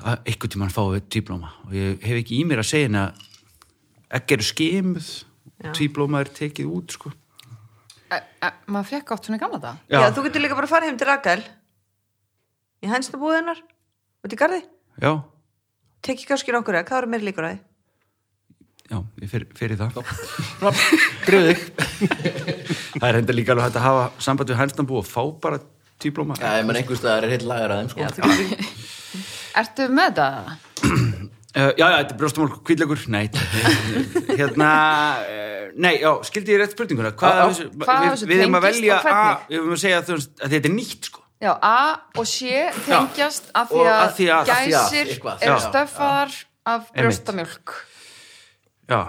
[SPEAKER 5] að einhvern tímann fáum við tvíblóma og ég hef ekki í mér að segja henni að egg eru skimuð tvíblóma er tekið út sko.
[SPEAKER 2] e, e, maður fekk átt svona í gamla dag
[SPEAKER 3] já. þú getur líka bara að fara heim til Rakel í hænsna búðunar út í garði
[SPEAKER 5] já,
[SPEAKER 3] tekið kannski nokkur eða hvað eru meir líkur að því
[SPEAKER 5] já, ég fer, fer í það
[SPEAKER 1] Griðu þig
[SPEAKER 5] það er enda líka alveg hægt að hafa samband við hænsnambú og fá bara tvíblóma
[SPEAKER 1] Já, ég menn einhvers staðar er heill lagar að þeim sko.
[SPEAKER 3] Já, þú getur-
[SPEAKER 2] ertu með það?
[SPEAKER 5] Uh, já, já, þetta er brjóstamálk kvíðlegur, nei hérna, uh, nei, já, skildi ég rétt spurninguna hvað
[SPEAKER 1] Já, já.
[SPEAKER 5] af þessu,
[SPEAKER 2] Hvað af
[SPEAKER 5] við,
[SPEAKER 2] þessu
[SPEAKER 5] við erum að
[SPEAKER 2] tengist
[SPEAKER 5] velja
[SPEAKER 2] og hvernig?
[SPEAKER 5] að, við erum að segja að, þú veist, að þetta er nýtt sko,
[SPEAKER 2] Já, A og C tengjast af því
[SPEAKER 5] Og
[SPEAKER 2] að,
[SPEAKER 5] af því að- af
[SPEAKER 1] því að,
[SPEAKER 2] gæsir
[SPEAKER 1] eitthvað.
[SPEAKER 2] eru
[SPEAKER 5] Já,
[SPEAKER 2] stöffaðar af
[SPEAKER 5] Einmitt.
[SPEAKER 2] brjóstamjólk.
[SPEAKER 5] já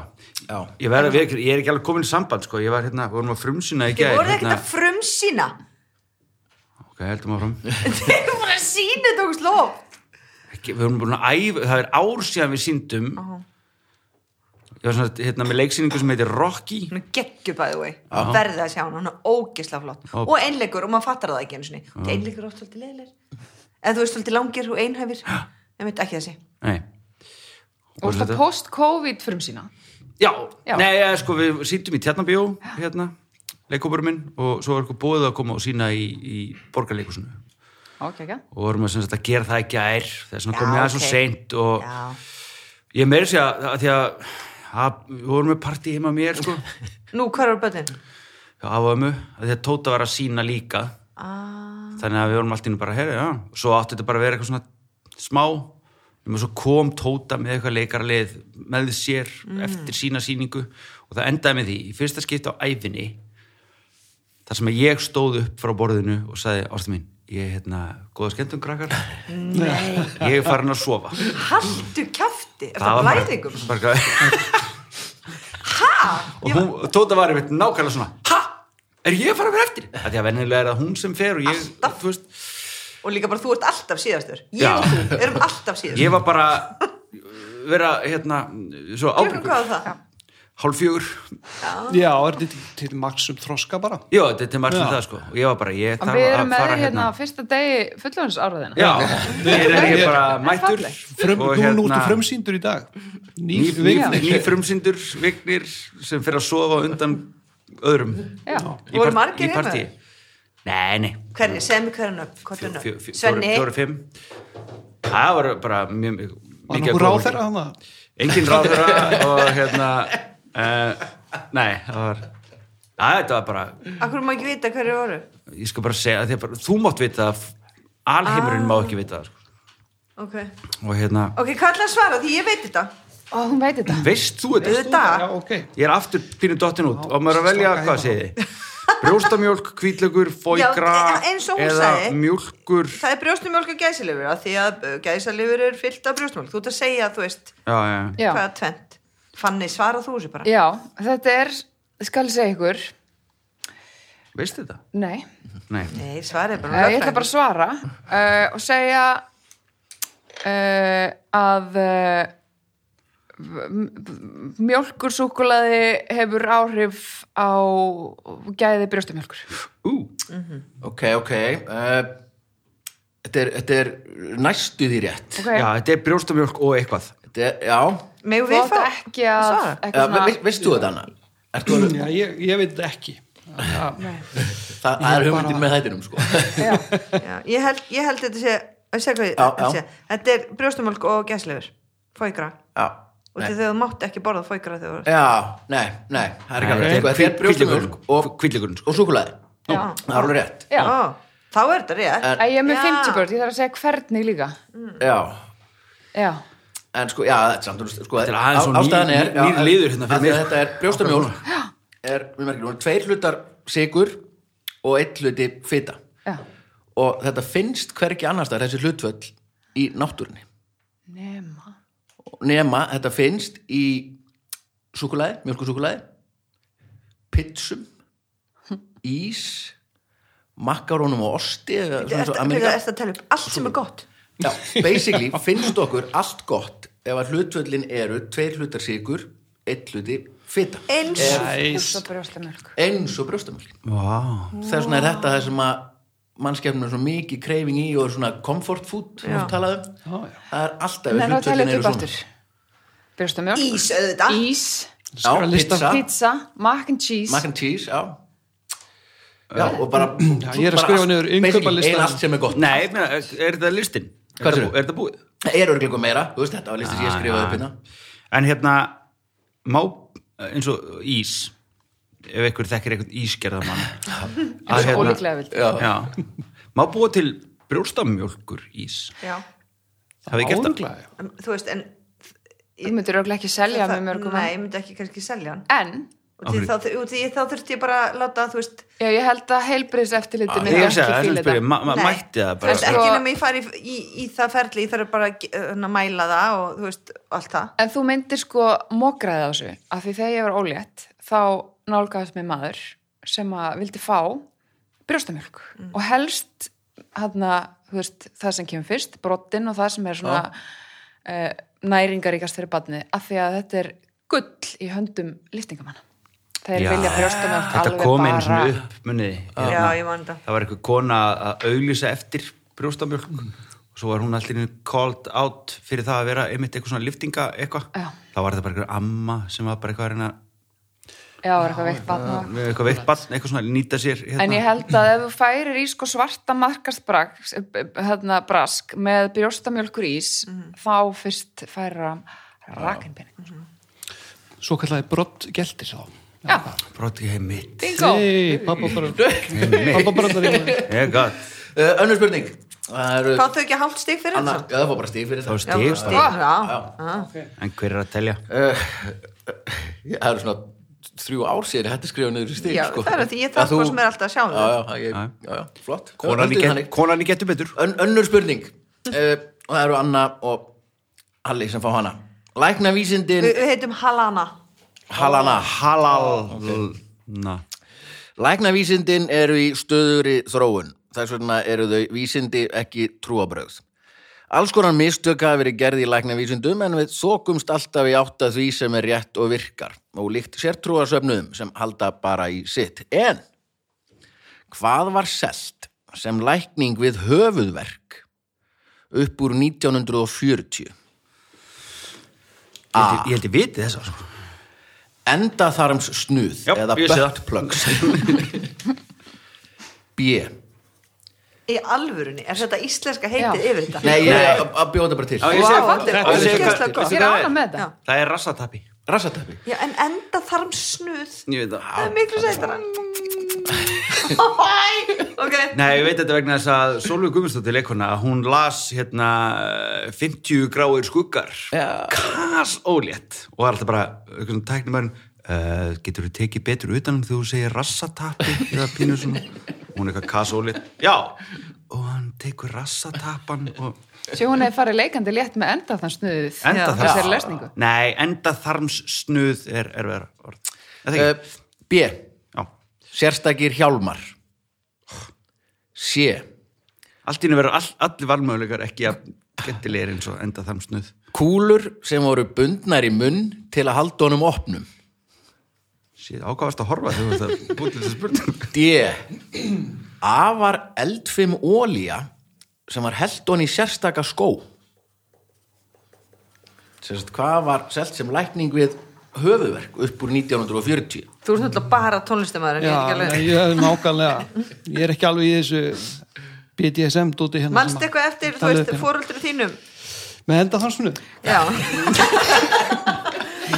[SPEAKER 1] Já.
[SPEAKER 5] ég, verð, að við, ég er ekki alveg komin í samband sko, ég var hérna, við vorum að frumsýna í
[SPEAKER 3] þið
[SPEAKER 5] gæð
[SPEAKER 3] voruð ekkert að frumsýna
[SPEAKER 5] ok, heldum áfram
[SPEAKER 3] þið voruð bara að sína þetta okkur slóft
[SPEAKER 5] ekki, við vorum búin að æfa, það er ár síðan við síndum ég var svona, hérna, með leiksýningu sem heitir Rocky
[SPEAKER 3] hún er geggjur bæði vei verðið að sjá hann, hann er ógisla flott
[SPEAKER 5] Ó.
[SPEAKER 3] og einleikur og maður fattar það ekki einu sinni Því einleikur er oft svolítið leðilegir eða þú veist svolítið langir og einhæfir ég veit ekki þessi
[SPEAKER 5] nei
[SPEAKER 2] Og
[SPEAKER 5] Voru
[SPEAKER 2] það
[SPEAKER 5] þetta-
[SPEAKER 2] post-covid frum sína.
[SPEAKER 5] Já,
[SPEAKER 2] Já.
[SPEAKER 5] nei, ja, sko, við sýndum í Tjarnabjó hérna, leikóparum minn og svo var eitthvað búið að koma og sína í, í borgarleikusinu
[SPEAKER 2] Ok, ok.
[SPEAKER 5] og vorum að, sem sagt, að gera það ekki að er það er svona
[SPEAKER 3] Já,
[SPEAKER 5] komið aðeins
[SPEAKER 3] ok.
[SPEAKER 5] og seint og
[SPEAKER 3] já.
[SPEAKER 5] ég meiri sér að, að því að að- við vorum með partí heima á mér sko,
[SPEAKER 3] (laughs) nú, hvað eru bötin?
[SPEAKER 5] hjá af og ömu að því að Tóta var að sína líka
[SPEAKER 3] Ah,
[SPEAKER 5] þannig að við vorum allt inni bara að heyra, já og svo átti þetta bara að vera eitthvað svona smá og svo kom Tóta með eitthvað leikaralið með sér
[SPEAKER 3] Mm.
[SPEAKER 5] eftir sína síningu og það endaði með því í fyrsta skipti á æfinni þar sem að ég stóð upp frá borðinu og sagði, ástu mín, ég er hérna góða skemmtum
[SPEAKER 3] (laughs)
[SPEAKER 5] krakkar ég er farin að sofa
[SPEAKER 3] haltu kjafti er það blæðingum?
[SPEAKER 5] bara,
[SPEAKER 3] (laughs)
[SPEAKER 5] og hún, Tóta var einmitt nákvæmlega svona ha, er ég farin að vera eftir það er að venjulega er það hún sem fer og ég,
[SPEAKER 3] Alltaf.
[SPEAKER 5] þú veist,
[SPEAKER 3] og líka bara þú ert alltaf síðastur ég
[SPEAKER 5] Já.
[SPEAKER 3] og þú erum alltaf síðastur
[SPEAKER 5] ég var bara vera hérna svo
[SPEAKER 3] Klukkan
[SPEAKER 5] ábyrgur
[SPEAKER 3] hvað var það?
[SPEAKER 5] hálf fjögur
[SPEAKER 4] Já, er þetta til- til maks um þroska bara?
[SPEAKER 5] já, þetta er til margt um
[SPEAKER 4] Já.
[SPEAKER 5] það sko og ég var bara, ég
[SPEAKER 2] En
[SPEAKER 5] þarf
[SPEAKER 2] við erum
[SPEAKER 5] að
[SPEAKER 2] með
[SPEAKER 5] fara
[SPEAKER 2] þér hérna
[SPEAKER 5] hérna
[SPEAKER 2] á fyrsta degi fulljónsáraðina.
[SPEAKER 5] já, ég er ég er bara
[SPEAKER 2] En
[SPEAKER 5] mættur
[SPEAKER 2] fallegt.
[SPEAKER 4] Frum,
[SPEAKER 5] og
[SPEAKER 4] Nú
[SPEAKER 5] hérna
[SPEAKER 4] núttu frumsýndur í dag Ný,
[SPEAKER 5] ný, ný,
[SPEAKER 4] vignir.
[SPEAKER 5] ný frumsyndur, vignir sem fyrir að sofa undan öðrum
[SPEAKER 2] Já.
[SPEAKER 5] í,
[SPEAKER 3] Voru
[SPEAKER 5] part-
[SPEAKER 3] margir
[SPEAKER 5] í
[SPEAKER 3] heima?
[SPEAKER 5] partí nei, nei
[SPEAKER 3] Hvernig, segð mér hvernig nöfn, hvort er
[SPEAKER 5] fjóru,
[SPEAKER 3] nöfn? Svenni,
[SPEAKER 5] fjóru, fimm það var bara mjög mjög-
[SPEAKER 4] Var
[SPEAKER 5] mikið
[SPEAKER 4] nokkuð
[SPEAKER 5] góðu
[SPEAKER 4] ráð
[SPEAKER 5] fólki.
[SPEAKER 4] þeirra hann að
[SPEAKER 5] engin ráðherra og hérna uh, nei, það var að þetta var bara,
[SPEAKER 3] akkur má ekki vita hverju voru
[SPEAKER 5] ég skal bara segja þegar bara, þú mátt vita það, alheimurinn
[SPEAKER 3] Ah.
[SPEAKER 5] má ekki vita það sko.
[SPEAKER 3] Ok,
[SPEAKER 5] og hérna,
[SPEAKER 3] ok, hvað ætlaði að svara því ég veit þetta
[SPEAKER 2] Ó, hún veit þetta.
[SPEAKER 5] veist þú þetta?
[SPEAKER 3] Auðvitað,
[SPEAKER 4] Já, ok
[SPEAKER 5] ég er aftur pínu dottin út og maður er að velja,
[SPEAKER 4] slaka
[SPEAKER 5] hvað
[SPEAKER 4] hérna.
[SPEAKER 5] segið þið? brjóstamjólk, hvítlaugur, fóigra
[SPEAKER 3] Já, e, eins og hún
[SPEAKER 5] eða
[SPEAKER 3] sagði.
[SPEAKER 5] mjólkur já,
[SPEAKER 3] það er brjóstumjólk og gæsilifur af því að uh, gæsalifur er fyllt af brjóstumjólk þú ert að segja, þú veist,
[SPEAKER 5] já, já.
[SPEAKER 2] Já.
[SPEAKER 3] hvað tvent Fanny, svara þú þessu bara
[SPEAKER 2] Já, þetta er, skal ég segja ykkur,
[SPEAKER 5] veist þetta?
[SPEAKER 2] nei,
[SPEAKER 5] nei,
[SPEAKER 3] Nei, svarið er bara
[SPEAKER 2] ég ætla bara að svara uh, og segja uh, að uh, mjölkursúkulaði hefur áhrif á gæði brjóstamjölkur.
[SPEAKER 5] ú,
[SPEAKER 1] Ok, ok uh, þetta, er, þetta er næstu því rétt
[SPEAKER 2] Ok,
[SPEAKER 5] já, þetta er brjóstamjólk og eitthvað
[SPEAKER 1] Þetta er, Já,
[SPEAKER 3] Megum
[SPEAKER 2] þú
[SPEAKER 3] við
[SPEAKER 2] átt
[SPEAKER 3] fá
[SPEAKER 2] ekki að,
[SPEAKER 3] svara?
[SPEAKER 1] Eða,
[SPEAKER 2] eitthvað
[SPEAKER 1] ve,
[SPEAKER 2] svona,
[SPEAKER 1] veist þú þetta Anna? Ertu alveg,
[SPEAKER 4] Já, ég, ég veit ekki Það-
[SPEAKER 1] það, það er hugmyndin með þættinum sko.
[SPEAKER 2] já,
[SPEAKER 3] Já, ég, held, ég held þetta sé, að segja hvað ég,
[SPEAKER 1] Já,
[SPEAKER 3] að
[SPEAKER 1] já.
[SPEAKER 3] segja. þetta er brjóstumjólk og gæsilifur fóigra,
[SPEAKER 1] Já,
[SPEAKER 3] og
[SPEAKER 1] nei.
[SPEAKER 3] því þau mátt ekki borða fóigra þegar þú
[SPEAKER 1] Já, nei, nei, það er ekki alveg rétt sko, Þetta er brjóstamjólk og,
[SPEAKER 5] kvítlugurinn sko.
[SPEAKER 1] og súkulaði
[SPEAKER 2] já,
[SPEAKER 1] Það er alveg rétt
[SPEAKER 2] já.
[SPEAKER 3] Ó, þá er þetta rétt
[SPEAKER 1] En-
[SPEAKER 2] Æ, Ég er með
[SPEAKER 3] Já.
[SPEAKER 2] 50 börn, ég þarf að segja hvernig líka
[SPEAKER 1] Já,
[SPEAKER 2] Já,
[SPEAKER 1] en sko, já, þetta er samt og- sko,
[SPEAKER 5] Þetta er aðeins
[SPEAKER 1] á-
[SPEAKER 5] og nýr-
[SPEAKER 1] ástæðan er
[SPEAKER 5] nýr-
[SPEAKER 1] já,
[SPEAKER 5] nýr
[SPEAKER 1] en-
[SPEAKER 5] liður hérna fyrir
[SPEAKER 1] af því að
[SPEAKER 5] mér.
[SPEAKER 1] Þetta er brjóstamjólk er, við merkjum, hún er tveir hlutar sigur og einn hluti fita
[SPEAKER 2] já
[SPEAKER 1] og þetta finnst hvergi annars það þessi hlutvöll í náttúrunni
[SPEAKER 2] Nema
[SPEAKER 1] nema þetta finnst í súkulaði, mjölkusúkulaði pitsum ís makkarónum og osti eða
[SPEAKER 3] Þú
[SPEAKER 1] svona
[SPEAKER 3] ert
[SPEAKER 1] eins og
[SPEAKER 3] að-
[SPEAKER 1] Ameríka.
[SPEAKER 3] þú ert að tala upp allt sem er gott
[SPEAKER 1] Já, basically finnst okkur allt gott ef að hlutvöllin eru tveir hlutar sigur, einn hluti fita,
[SPEAKER 3] eins
[SPEAKER 4] Æs.
[SPEAKER 2] Svo brjóstamjölk
[SPEAKER 1] eins og brjóstamölk
[SPEAKER 5] Vá.
[SPEAKER 1] þess vegna er þetta það sem að mannskefnum er svo mikið kreifing í og er svona comfort food sem
[SPEAKER 3] Já.
[SPEAKER 1] þú talaði um
[SPEAKER 4] Já, já.
[SPEAKER 1] það er alltaf
[SPEAKER 2] Nei,
[SPEAKER 1] ef
[SPEAKER 2] nú tala
[SPEAKER 1] hlutvöllin
[SPEAKER 2] þetta upp
[SPEAKER 1] eru
[SPEAKER 2] aftur
[SPEAKER 1] svona
[SPEAKER 2] Brjóstamjölk
[SPEAKER 3] ís auðvitað
[SPEAKER 2] Ís,
[SPEAKER 1] Já,
[SPEAKER 4] Skal lista-
[SPEAKER 1] pizza.
[SPEAKER 2] pizza, mac and cheese
[SPEAKER 1] mac and cheese, já Eh, Já, og bara (clears throat)
[SPEAKER 4] Já, ég er að skrifa niður innkaupalistan.
[SPEAKER 1] Einn allt sem er gott
[SPEAKER 5] nei, ég meina, er er þetta listin?
[SPEAKER 1] Hvað
[SPEAKER 5] er,
[SPEAKER 1] er
[SPEAKER 5] þetta bú- er þetta búið?
[SPEAKER 1] Það er örgleikum meira, þú veist þetta var listin sem ég skrifaði upp hérna
[SPEAKER 5] en hérna má, eins og ís ef einhver þekkir einhvern
[SPEAKER 2] (laughs)
[SPEAKER 5] ísgerðamann
[SPEAKER 1] Ah,
[SPEAKER 5] að hérna-
[SPEAKER 1] hérna.
[SPEAKER 2] Ólíklega vild
[SPEAKER 5] já, má búa til brjóstamjólkur ís
[SPEAKER 3] Já.
[SPEAKER 5] hafið þið gert það?
[SPEAKER 4] Áðurlega, já.
[SPEAKER 3] En, þú veist, en
[SPEAKER 2] Þú myndir örugglega ekki selja með mörgum
[SPEAKER 3] nei, ég myndi ekki kannski selja hann
[SPEAKER 2] En,
[SPEAKER 3] og því, þá, og því þá þurfti ég bara að láta þú veist,
[SPEAKER 2] já, ég held að heilbriðs eftirliti
[SPEAKER 5] ég
[SPEAKER 2] myndi
[SPEAKER 5] hef
[SPEAKER 2] ekki
[SPEAKER 5] segið það,
[SPEAKER 2] fíla
[SPEAKER 5] sem spyrir,
[SPEAKER 2] þetta
[SPEAKER 5] ma ma
[SPEAKER 3] Nei.
[SPEAKER 5] mætti það
[SPEAKER 3] þú veist
[SPEAKER 5] bara
[SPEAKER 2] En-
[SPEAKER 3] ekki
[SPEAKER 2] sko-
[SPEAKER 3] nema ég fari í, í, í það ferli ég þarf bara að ge- hérna, mæla það og þú veist, allt það
[SPEAKER 2] En þú myndir sko mokraðið á þessu af því þegar ég var ólétt þá nálgæðast mér maður sem að vildi fá brjóstamjölk og helst hana, veist, það sem kemur fyrst, brottin og það sem er svona uh, næringaríkast fyrir badni af því að þetta er gull í höndum lýstingamanna þeir
[SPEAKER 5] Já,
[SPEAKER 2] vilja brjóstamjölk
[SPEAKER 5] þetta
[SPEAKER 2] alveg
[SPEAKER 5] kom einu
[SPEAKER 2] bara
[SPEAKER 5] svona upp muniði
[SPEAKER 3] já, ég man það
[SPEAKER 5] það var einhver kona að auglýsa eftir brjóstamjólk og svo var hún allir called out fyrir það að vera einmitt eitthvað svona liftinga eitthvað
[SPEAKER 2] Já.
[SPEAKER 5] þá var þetta bara einhver amma sem var bara eitthvað að reyna
[SPEAKER 2] já, er eitthvað veikt badna
[SPEAKER 5] með eitthvað veitt barn, eitthvað svona nýta sér hérna.
[SPEAKER 2] En ég held að ef þú færir í sko svarta markastbrask hérna, brask með brjóstamjölkur ís
[SPEAKER 4] Mhm.
[SPEAKER 2] þá fyrst færir hann rakinpenning.
[SPEAKER 4] Svo kallaði brott geltir þá
[SPEAKER 2] Já,
[SPEAKER 5] broti heim mitt
[SPEAKER 2] bingo!
[SPEAKER 4] Nei, pappa bara Pappa bara það er
[SPEAKER 5] ég gott,
[SPEAKER 1] uh, Önnur spurning Það eru
[SPEAKER 3] fá þau ekki hálft stig fyrir
[SPEAKER 1] Anna,
[SPEAKER 3] þetta
[SPEAKER 1] já það var bara stíf fyrir
[SPEAKER 5] þá
[SPEAKER 1] það
[SPEAKER 5] stig
[SPEAKER 3] stig,
[SPEAKER 5] bara.
[SPEAKER 3] Ah, já,
[SPEAKER 5] en hver er að telja?
[SPEAKER 1] uh, eh, Það eru svona þrjú ár síðan ég hætti að skrifa niður stíf
[SPEAKER 3] Já,
[SPEAKER 1] sko.
[SPEAKER 3] það er að því, ég
[SPEAKER 1] Að
[SPEAKER 3] þarf
[SPEAKER 1] þú-
[SPEAKER 3] bara sem er alltaf að sjá
[SPEAKER 1] Já,
[SPEAKER 3] það.
[SPEAKER 1] já, ég, já, já, flott
[SPEAKER 5] konan í
[SPEAKER 1] Höldum
[SPEAKER 5] get-
[SPEAKER 1] þannig.
[SPEAKER 5] konan í getur betur
[SPEAKER 1] Ön, önnur spurning uh, og það eru Anna og Halli sem fá hana læknavísindin
[SPEAKER 3] Vi, við heitum Halana
[SPEAKER 1] Halana
[SPEAKER 5] halal na
[SPEAKER 1] læknavísindin eru í stöðuri þróun þess vegna eru þau vísindi ekki trúabröð Alls konar mistök hafa verið gerði í læknavísundum en við þókumst alltaf í átt að því sem er rétt og virkar og líkt sértrúasöfnuðum sem halda bara í sitt. En hvað var selt sem lækning við höfuðverk upp úr 1940?
[SPEAKER 3] Ah.
[SPEAKER 5] Ég held ég- ég held ég viti sko. þess að
[SPEAKER 1] Endaþarms snuð
[SPEAKER 5] Já,
[SPEAKER 1] eða
[SPEAKER 5] ég sé það.
[SPEAKER 1] butt plugs. (laughs) B.
[SPEAKER 3] Í alvörunni, er þetta íslenska heitið
[SPEAKER 2] Já.
[SPEAKER 3] yfir þetta?
[SPEAKER 1] Nei, ég er að- að bjóða bara til.
[SPEAKER 5] Já, ég
[SPEAKER 3] Vá,
[SPEAKER 5] sé það.
[SPEAKER 3] þetta er
[SPEAKER 5] Ég sé hvað-
[SPEAKER 3] ógeðslega
[SPEAKER 5] veistu
[SPEAKER 2] Ég
[SPEAKER 3] gott
[SPEAKER 2] er
[SPEAKER 5] hvað
[SPEAKER 2] ánægð með þetta.
[SPEAKER 5] Það er rassatappi
[SPEAKER 1] Rassatappi.
[SPEAKER 3] Já, en enda þarm snuð
[SPEAKER 5] Ég veit það
[SPEAKER 3] Það er miklu sætara (laughs) Ok
[SPEAKER 5] Nei, ég veit þetta vegna þess að Sólvig Guðmundsdóttir leikona, hún las hérna 50 gráir skuggar
[SPEAKER 1] Já.
[SPEAKER 5] kas ólétt og var alltaf bara, eitthvað svona tæknumærin uh, getur þú tekið betur utan þegar þú segir rassatappi eða pínu svona hún er eitthvað kas ólétt, já og hann tekur rassatappan og
[SPEAKER 2] Sjó hún hefði farið leikandi létt með enda þann snuðið
[SPEAKER 5] enda
[SPEAKER 2] í þessari lesningu.
[SPEAKER 5] nei, enda þarms snuð er erfiðara orð Er það
[SPEAKER 1] Uh,
[SPEAKER 5] ekki?
[SPEAKER 1] B.
[SPEAKER 5] já,
[SPEAKER 1] Sérstakir hjálmar C.
[SPEAKER 5] allt í henni verður all, allir valmöguleikar ekki að skemmtilegir eins og enda þarms snuð
[SPEAKER 1] Kúlur sem voru bundnar í munn til að halda honum opnum
[SPEAKER 5] Shit, ákvaðast að horfa þegar þú (laughs) veist að búið til þessu spurning.
[SPEAKER 1] D. Afar eldfim ólía sem var held hon í sérstaka skó Sérst, hvað var selt sem lækning við höfuverk upp úr 1940
[SPEAKER 3] Þú ert náttúrulega bara tónlistamæður
[SPEAKER 4] Já, nei, ég er nákvæmlega ég er ekki alveg í þessu BDSM dóti hérna
[SPEAKER 3] Manst
[SPEAKER 4] sem að-
[SPEAKER 3] eitthvað eftir, þú
[SPEAKER 4] Talið
[SPEAKER 3] veist,
[SPEAKER 4] upp hérna.
[SPEAKER 3] fóröldru þínum
[SPEAKER 4] með enda þann snuð
[SPEAKER 3] um- Já,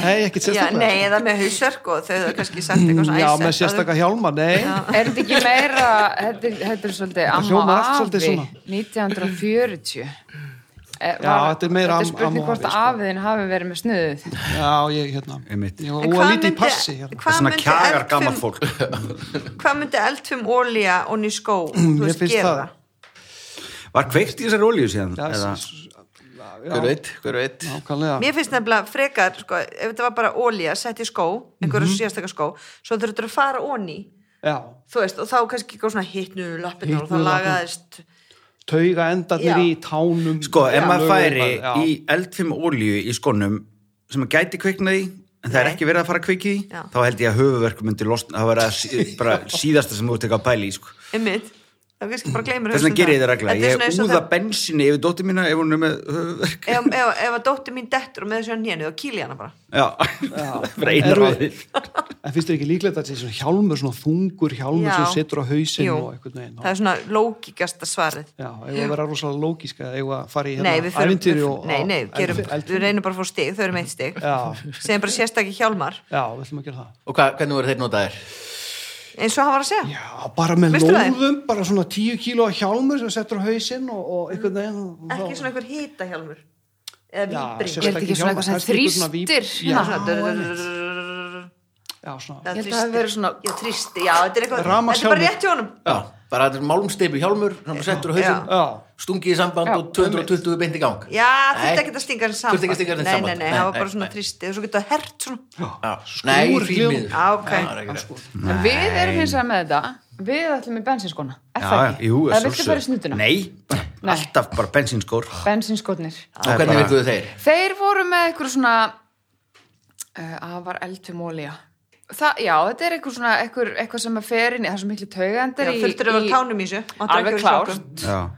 [SPEAKER 4] nei, ekkert
[SPEAKER 3] já
[SPEAKER 4] sérstaklega
[SPEAKER 3] nei, eða með hausverk og þau hefur kannski sagt eitthvað svona
[SPEAKER 4] Hmm, já,
[SPEAKER 3] æsett
[SPEAKER 4] með
[SPEAKER 3] áður.
[SPEAKER 4] sérstaka hjálma, nei
[SPEAKER 2] Er þetta ekki meira, þetta er- þetta er svolítið amma
[SPEAKER 4] hljómar
[SPEAKER 2] og
[SPEAKER 4] allt svolítið
[SPEAKER 2] afi,
[SPEAKER 4] svona.
[SPEAKER 2] 1940. Eh,
[SPEAKER 4] Já, þetta er meira
[SPEAKER 2] Þetta
[SPEAKER 4] am-
[SPEAKER 2] er spurning
[SPEAKER 4] amma og
[SPEAKER 2] hvort
[SPEAKER 4] afi, sko.
[SPEAKER 2] að afiðin hafi verið með snuðið.
[SPEAKER 4] já, ég hérna
[SPEAKER 5] Einmitt.
[SPEAKER 4] ég var
[SPEAKER 3] En
[SPEAKER 4] úa
[SPEAKER 3] hvað
[SPEAKER 4] lítið í
[SPEAKER 3] myndi-
[SPEAKER 4] passi hérna.
[SPEAKER 5] Það er
[SPEAKER 3] Hvað
[SPEAKER 5] svona
[SPEAKER 3] myndi
[SPEAKER 5] kjagar gammalt
[SPEAKER 3] eldfum-
[SPEAKER 5] fólk.
[SPEAKER 3] Hvað myndi eldfum ólía og ný skó Þú
[SPEAKER 4] Hmm, Mér
[SPEAKER 3] veist,
[SPEAKER 4] finnst
[SPEAKER 3] gera
[SPEAKER 4] það.
[SPEAKER 3] það
[SPEAKER 5] Var kveikt í þessari olíu síðan?
[SPEAKER 4] Já,
[SPEAKER 5] eða,
[SPEAKER 4] s-
[SPEAKER 1] Hver veit, hver veit
[SPEAKER 4] nákvæmlega
[SPEAKER 3] Mér finnst nefnilega frekar, sko, ef þetta var bara ólía sett í skó, einhverju
[SPEAKER 4] Mhm.
[SPEAKER 3] mm skó svo þurftur að fara onni
[SPEAKER 4] já,
[SPEAKER 3] þú veist, og þá kannski eitthvað svona hittnu lappinu og þá
[SPEAKER 4] Hitnuðu
[SPEAKER 3] lagaðist
[SPEAKER 4] tauga endarnir
[SPEAKER 3] Já.
[SPEAKER 4] í tánum
[SPEAKER 5] sko, ef maður færi
[SPEAKER 4] Já.
[SPEAKER 5] í eldfim olíu í skonum sem að gæti kveiknaði, en það er
[SPEAKER 3] Nei.
[SPEAKER 5] ekki verið að fara að kveiki því,
[SPEAKER 3] Já.
[SPEAKER 5] þá held ég að höfuverku myndi losna, það var að
[SPEAKER 2] (laughs)
[SPEAKER 5] sí, bara síðasta sem þú ert eitthvað að pæli í, sko.
[SPEAKER 3] einmitt, þá kannski bara gleymur
[SPEAKER 5] Þess vegna gerir ég það regla.
[SPEAKER 3] ég
[SPEAKER 5] Ég úða bensinni yfir dóttir mína ef hún er með höfuverk.
[SPEAKER 3] ef, ef, ef að dóttir mín dettur og með þessu hann hénu þá kýli ég hana bara
[SPEAKER 5] Já, (laughs) það er eina
[SPEAKER 4] Erfitt.
[SPEAKER 5] ráðið.
[SPEAKER 4] en finnst þér ekki líklegt að þetta er svona hjálmur svona þungur hjálmur
[SPEAKER 3] Já.
[SPEAKER 4] sem setur á hausinn
[SPEAKER 3] Jú.
[SPEAKER 4] og einhvern veginn
[SPEAKER 3] það er svona lókikasta svarið
[SPEAKER 4] Já, eigum að vera rosalega lógíska eigum að fara í
[SPEAKER 3] nei,
[SPEAKER 4] hérna
[SPEAKER 3] við förum,
[SPEAKER 4] ævintýri
[SPEAKER 3] við-
[SPEAKER 4] og,
[SPEAKER 3] nei, nei,
[SPEAKER 4] og-
[SPEAKER 3] gerum,
[SPEAKER 4] eldfim-
[SPEAKER 3] við reynum bara að fá stig, þau eru meitt stig
[SPEAKER 4] Já,
[SPEAKER 3] segjum bara sérstakki hjálmar
[SPEAKER 4] já, við ætlum að gera það
[SPEAKER 1] Og hva, hvernig voru þeir notaðir?
[SPEAKER 3] eins og hann var að segja
[SPEAKER 4] Já, bara með
[SPEAKER 3] Veistu það?
[SPEAKER 4] lóðum, bara svona tíu kíló hjálmur sem settur á hausinn og, og einhvern veginn og-
[SPEAKER 3] ekki svona einhver hita hjálmur eða
[SPEAKER 4] Já,
[SPEAKER 3] víbring
[SPEAKER 2] Ég held ekki svona
[SPEAKER 4] Hjálmar,
[SPEAKER 2] eitthvað sem
[SPEAKER 4] kannski eitthvað svona víp-
[SPEAKER 2] þrýstir.
[SPEAKER 4] Já.
[SPEAKER 2] hérna.
[SPEAKER 4] Já, svona
[SPEAKER 3] Eða
[SPEAKER 2] Ég held að það
[SPEAKER 3] þrýstir.
[SPEAKER 2] hafi verið svona-
[SPEAKER 3] já, þrýsti, já, þetta er eitthvað þetta er
[SPEAKER 4] Rafmagnshjálmur.
[SPEAKER 3] bara rétt hjá honum
[SPEAKER 1] Já, bara þetta er málmsteipu hjálmur sem þú settur á hausinn,
[SPEAKER 4] Já,
[SPEAKER 1] stungið í samband
[SPEAKER 2] Já,
[SPEAKER 1] og 220 beint í gang
[SPEAKER 3] já,
[SPEAKER 1] Nei.
[SPEAKER 3] þurfti ekki að stinga hans saman
[SPEAKER 1] Þurfti ekki að stinga hann
[SPEAKER 3] nei,
[SPEAKER 1] saman.
[SPEAKER 3] nei, nei,
[SPEAKER 1] Nei,
[SPEAKER 3] það var bara
[SPEAKER 1] nei,
[SPEAKER 3] svona
[SPEAKER 1] nei.
[SPEAKER 3] þrýsti og svo getur það hert svona
[SPEAKER 1] Já, Nei,
[SPEAKER 4] Skúr,
[SPEAKER 1] því
[SPEAKER 4] hljóm.
[SPEAKER 1] miður
[SPEAKER 3] Já, ok.
[SPEAKER 1] Nei, það er ekki rétt.
[SPEAKER 2] En við erum hins vegar með þetta, við ætlum í bensinskona, er það
[SPEAKER 5] Já,
[SPEAKER 2] ekki?
[SPEAKER 5] jú,
[SPEAKER 2] Eða
[SPEAKER 5] að
[SPEAKER 2] viltu
[SPEAKER 5] sjálfsögðu.
[SPEAKER 2] fara í snutuna?
[SPEAKER 5] Nei, bara
[SPEAKER 2] Nei.
[SPEAKER 5] alltaf bara sko. bensínskór.
[SPEAKER 2] Bensinskotnir.
[SPEAKER 1] Og hvernig
[SPEAKER 5] bara-
[SPEAKER 1] virkuðu þeir?
[SPEAKER 2] Þeir voru með eitthvað svona uh, afar eldfum ólíja Það, já, þetta er eitthvað svona eitthvað, eitthvað sem að fer inn í, það er svo miklu taugendir í,
[SPEAKER 3] þurftur að vera tánum í þessu máttu
[SPEAKER 2] alveg
[SPEAKER 3] ekki vera í
[SPEAKER 2] klárt
[SPEAKER 3] sokkum.
[SPEAKER 5] Já, þetta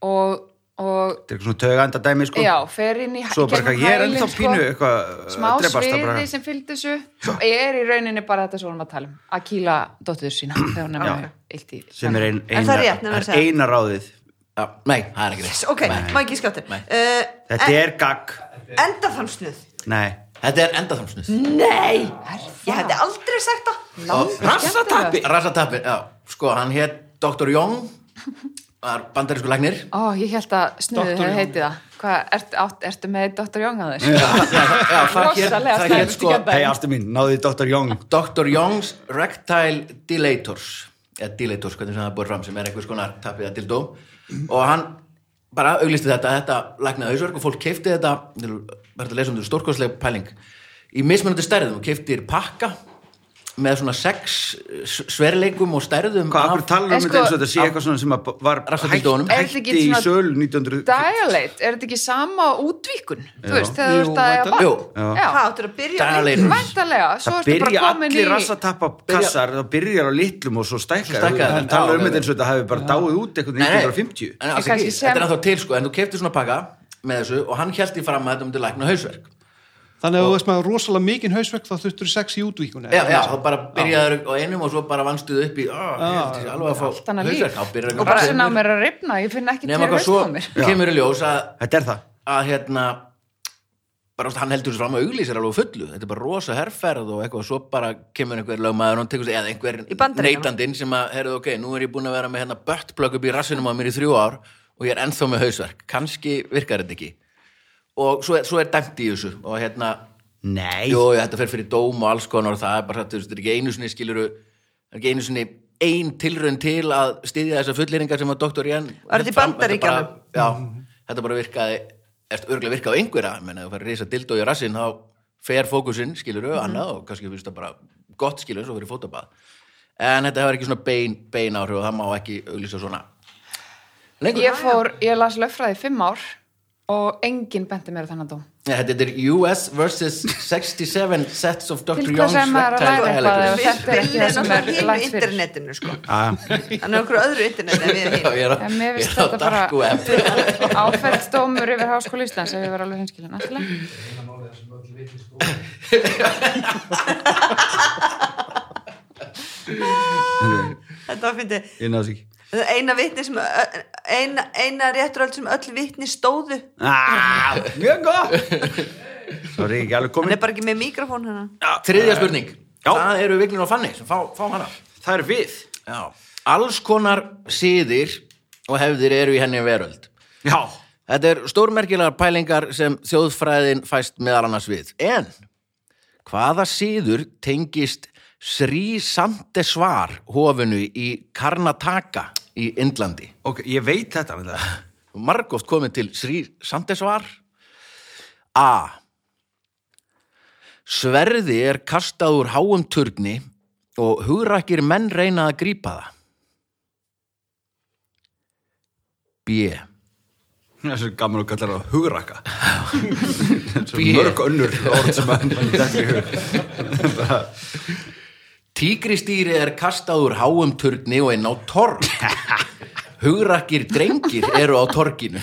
[SPEAKER 2] og, og
[SPEAKER 5] er eitthvað svona töganda dæmi, sko.
[SPEAKER 2] já, fer inn í
[SPEAKER 5] Svo
[SPEAKER 2] í
[SPEAKER 5] bara
[SPEAKER 2] gegnum
[SPEAKER 5] eitthvað, ég er
[SPEAKER 2] hælinn, sko.
[SPEAKER 5] ennþá pínu eitthvað,
[SPEAKER 2] smá
[SPEAKER 5] uh, drepast það bara.
[SPEAKER 2] sviði sem fylgdi þessu svo er í rauninni bara þetta sem við erum að tala um að kýla dóttuður
[SPEAKER 5] (clears throat)
[SPEAKER 2] sína þegar hún er
[SPEAKER 5] Já.
[SPEAKER 2] með illt í
[SPEAKER 5] sem er ein,
[SPEAKER 3] En
[SPEAKER 5] eina,
[SPEAKER 3] það er rétt, nema að
[SPEAKER 5] það er
[SPEAKER 3] segja.
[SPEAKER 5] eina ráðið
[SPEAKER 1] Já, Nei, það er ekki rétt
[SPEAKER 3] Yes, ok, maður ekki skjáttir
[SPEAKER 1] Nei.
[SPEAKER 3] uh,
[SPEAKER 5] þetta er gagg
[SPEAKER 3] enda þann snuð
[SPEAKER 5] nei,
[SPEAKER 1] Þetta er endaþamsnuð
[SPEAKER 3] nei, ég
[SPEAKER 2] það?
[SPEAKER 3] hefði aldrei sagt það
[SPEAKER 5] rassatappi
[SPEAKER 1] Rassatappi, já, sko, hann hétt Dr. Young var bandarísku læknir
[SPEAKER 2] Ó, ég held að snuðu
[SPEAKER 4] Dr.
[SPEAKER 2] hefði
[SPEAKER 4] Jón.
[SPEAKER 2] heitið það. Hvað, ert, átt, ertu með Dr. Young að
[SPEAKER 1] Já,
[SPEAKER 2] þér?
[SPEAKER 1] já, það hét-
[SPEAKER 2] Rosalega
[SPEAKER 1] það hétt
[SPEAKER 2] slæmt
[SPEAKER 1] sko
[SPEAKER 2] í
[SPEAKER 5] hei ástu mín, náðu í Dr. Young
[SPEAKER 1] Dr. Young's Rectile Dilators eða Dilators, hvernig sem það er búið fram sem er einhvers konar tappið að dildó og hann bara auglisti þetta þetta læknaði hausverk og fólk keifti þetta verður að lesa um þetta stórkostleg pæling í mismunandi stærðum og keiftir pakka með svona sex s- sverleikum og stærðum
[SPEAKER 5] Hvað, akkur talar
[SPEAKER 2] En
[SPEAKER 5] um
[SPEAKER 2] sko-
[SPEAKER 5] þetta eins og þetta sé eitthvað svona sem að var
[SPEAKER 1] Rassabíldónum.
[SPEAKER 2] Er þetta ekki
[SPEAKER 5] hætti í
[SPEAKER 2] svona
[SPEAKER 5] sölu 1900
[SPEAKER 2] Dialate, er þetta ekki sama útvíkun? Þú veist, þegar
[SPEAKER 4] Jú,
[SPEAKER 2] þú ert að
[SPEAKER 4] væntanlega.
[SPEAKER 2] eiga barn.
[SPEAKER 5] Jú,
[SPEAKER 2] Já,
[SPEAKER 3] Hvað áttur að byrja á
[SPEAKER 1] Dalir.
[SPEAKER 3] leiknum?
[SPEAKER 2] Væntalega, svo
[SPEAKER 5] Það
[SPEAKER 2] ertu
[SPEAKER 5] byrja
[SPEAKER 2] bara komin í
[SPEAKER 5] allir rassatapakassar það byrjar á litlum og svo stækkar
[SPEAKER 1] stækkar
[SPEAKER 5] það
[SPEAKER 1] það.
[SPEAKER 5] talar um
[SPEAKER 1] Já,
[SPEAKER 5] þetta eins og þetta hafi bara dáið út eitthvað
[SPEAKER 1] Nei, nei.
[SPEAKER 5] 1950
[SPEAKER 1] En alls
[SPEAKER 2] Ég
[SPEAKER 1] ekki,
[SPEAKER 2] kannski sem-
[SPEAKER 1] Þetta er þá til sko, en þú keftir svona pakka með þessu og hann held í fram að þetta myndi lækna hausverk
[SPEAKER 4] Þannig að þú veist með rosalega mikinn hausverk þá þurftur sex í útvíkunni.
[SPEAKER 1] Já, já, þá bara byrjaður á einum og svo bara vannstuðu upp í "Ah, ég held ég sé alveg að
[SPEAKER 2] Allt
[SPEAKER 1] fá
[SPEAKER 2] annað líf.
[SPEAKER 1] hausverk þá byrjar
[SPEAKER 2] og bara sem á mér að ripna, ég finn ekki til
[SPEAKER 1] Nefna hvað
[SPEAKER 2] haust
[SPEAKER 1] svo
[SPEAKER 2] á mér.
[SPEAKER 1] kemur í ljós að
[SPEAKER 5] Þetta er það
[SPEAKER 1] að hérna bara ást, hann heldur þessu fram að auglýsir alveg á fullu þetta er bara rosa herrferð og eitthvað svo bara kemur einhver lögmaður og hann tekur sig eða einhver
[SPEAKER 3] Í Bandaríkjunum.
[SPEAKER 1] neytandinn sem að, heyrðu ok, nú er ég búin að vera með hérna böttplökk upp í rassinum á mér í þrjú ár og ég er ennþá með hausverk, kannski virkar þetta ekki og svo er, svo er dæmt í þessu og hérna,
[SPEAKER 5] Nei
[SPEAKER 1] jú, jú, þetta fer fyrir dóm og alls konar og það er bara, þú veist, þetta er ekki einu sinni skiluru, það er ekki einu sinni ein tilraun til að styðja þessa fulleringar sem að doktor Ján
[SPEAKER 3] Var þetta í Bandaríkjunum?
[SPEAKER 1] já, þetta bara virkaði eftir örgulega virkaði á einhverja menn að þú færi reysa dildó í rassinn þá fer fókusinn, skilur
[SPEAKER 2] Mhm.
[SPEAKER 1] þau annað og kannski finnst það bara gott skilur eins og fyrir fótabað en þetta hefur ekki svona bein, bein áhrif og það má ekki auglýsa svona lengur
[SPEAKER 2] Ég fór, ég las löffræði í fimm ár og enginn benti mér á þennan dóm.
[SPEAKER 1] Nei, þetta er US vs 67 sets of Dr.
[SPEAKER 2] Til
[SPEAKER 1] Young's
[SPEAKER 2] hvers er maður að læra
[SPEAKER 1] rectangle
[SPEAKER 2] eitthvað
[SPEAKER 1] elegance.
[SPEAKER 2] ef þetta er ekki
[SPEAKER 3] Villi
[SPEAKER 2] það
[SPEAKER 3] er
[SPEAKER 2] sem er
[SPEAKER 3] náttúrulega hinu
[SPEAKER 2] lægt fyrir?
[SPEAKER 3] internetinu sko.
[SPEAKER 5] Æ,
[SPEAKER 3] Hann er okkur öðru internet en við
[SPEAKER 1] Já,
[SPEAKER 3] erum hinn.
[SPEAKER 1] ég er á,
[SPEAKER 2] En mér
[SPEAKER 1] ég
[SPEAKER 2] finnst
[SPEAKER 1] er á
[SPEAKER 2] þetta bara
[SPEAKER 1] dark web
[SPEAKER 2] áfært dómur yfir Háskóla Íslands ef ég var alveg hinskilin. Alltaf.
[SPEAKER 3] Þetta var fyndið.
[SPEAKER 5] ég náðu sig
[SPEAKER 3] Eina vitni sem, ö- eina, eina rétturöld sem öll vitni stóðu.
[SPEAKER 5] ah, Mjög góð Svo er ég ekki alveg
[SPEAKER 3] Hann
[SPEAKER 5] komin
[SPEAKER 3] er bara ekki með mikrofón hérna. hennar.
[SPEAKER 1] Þriðja spurning
[SPEAKER 5] Eh, Já.
[SPEAKER 1] Það eru Viglin og Fanny sem fá, fá hana
[SPEAKER 5] Það er við
[SPEAKER 1] Já. Alls konar síðir og hefðir eru í henni veröld.
[SPEAKER 5] Já
[SPEAKER 1] Þetta er stórmerkilegar pælingar sem þjóðfræðin fæst meðal annars við. En hvaða síður tengist Sri Sandesvar hofinu í Karnataka í Indlandi?
[SPEAKER 5] Ok, ég veit þetta (laughs) með það
[SPEAKER 1] Margóft komið til Sri Sandesvar. A. Sverði er kastað úr háum turni og hugrakkir menn reyna að grípa það. B.
[SPEAKER 5] Það er svo gaman að kalla það (laughs) hugrakka Svo
[SPEAKER 1] Bé.
[SPEAKER 5] mörg önnur orð sem að mann þetta í hug
[SPEAKER 1] Tígristýri er kastað úr háum turni og inn á torg. Hugrakkir drengir eru á torginu.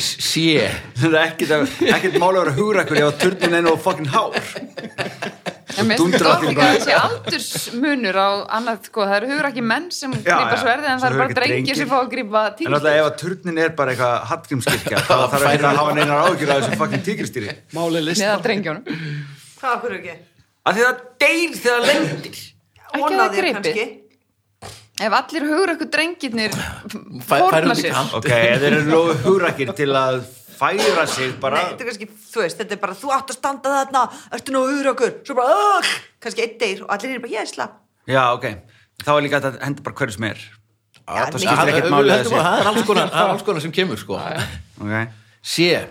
[SPEAKER 1] Sjö.
[SPEAKER 5] Það er ekkit, ekkit mála að vera hugrakkur Ég var turnin einu og fucking hár
[SPEAKER 2] En mér finnst þetta
[SPEAKER 5] Dundrar þín
[SPEAKER 2] líka
[SPEAKER 5] bara.
[SPEAKER 2] þessi aldursmunur á annað, sko, það eru hugur ekki menn sem
[SPEAKER 5] Já,
[SPEAKER 2] grípa
[SPEAKER 5] já.
[SPEAKER 2] sverði en
[SPEAKER 5] Svo
[SPEAKER 2] það eru
[SPEAKER 5] eru
[SPEAKER 2] bara
[SPEAKER 5] ekki drengir.
[SPEAKER 2] drengir sem fá að grípa
[SPEAKER 5] En alltaf
[SPEAKER 2] tígristýri.
[SPEAKER 5] ef að turnin er bara eitthvað Hallgrímskirkja, þá
[SPEAKER 1] Það
[SPEAKER 5] þarf ekki
[SPEAKER 1] færir-
[SPEAKER 5] að hafa neinar ágjur af þessu fucking tígristýri
[SPEAKER 4] Máli list.
[SPEAKER 2] Neða drengjónum.
[SPEAKER 3] Hvað okkur ekki?
[SPEAKER 5] Af því það deyr þegar það lendir
[SPEAKER 2] Ekki að það
[SPEAKER 3] Vonaði
[SPEAKER 2] greipi.
[SPEAKER 3] kannski.
[SPEAKER 2] Ef allir hugur ekki drengirnir
[SPEAKER 1] færðu
[SPEAKER 2] fórna
[SPEAKER 1] út í
[SPEAKER 2] sér.
[SPEAKER 1] kamp.
[SPEAKER 5] Ok, þeir eru nógu hugrakir til að færa sig
[SPEAKER 3] Nei,
[SPEAKER 5] bara
[SPEAKER 3] þetta er kannski, þú veist, þetta er bara þú átt að standa þarna, ertu nú hugur okkur, svo bara, ögh, kannski einn deyr og allir er bara, ég slapp.
[SPEAKER 5] Já, ok, þá er líka hægt að henda bara hverju sem er
[SPEAKER 1] Já,
[SPEAKER 5] það skiptir ekkert máli að
[SPEAKER 1] höldum
[SPEAKER 5] þessi.
[SPEAKER 1] að Það er alls konar, það er alls konar sem kemur sko.
[SPEAKER 5] Ok,
[SPEAKER 1] Sjö.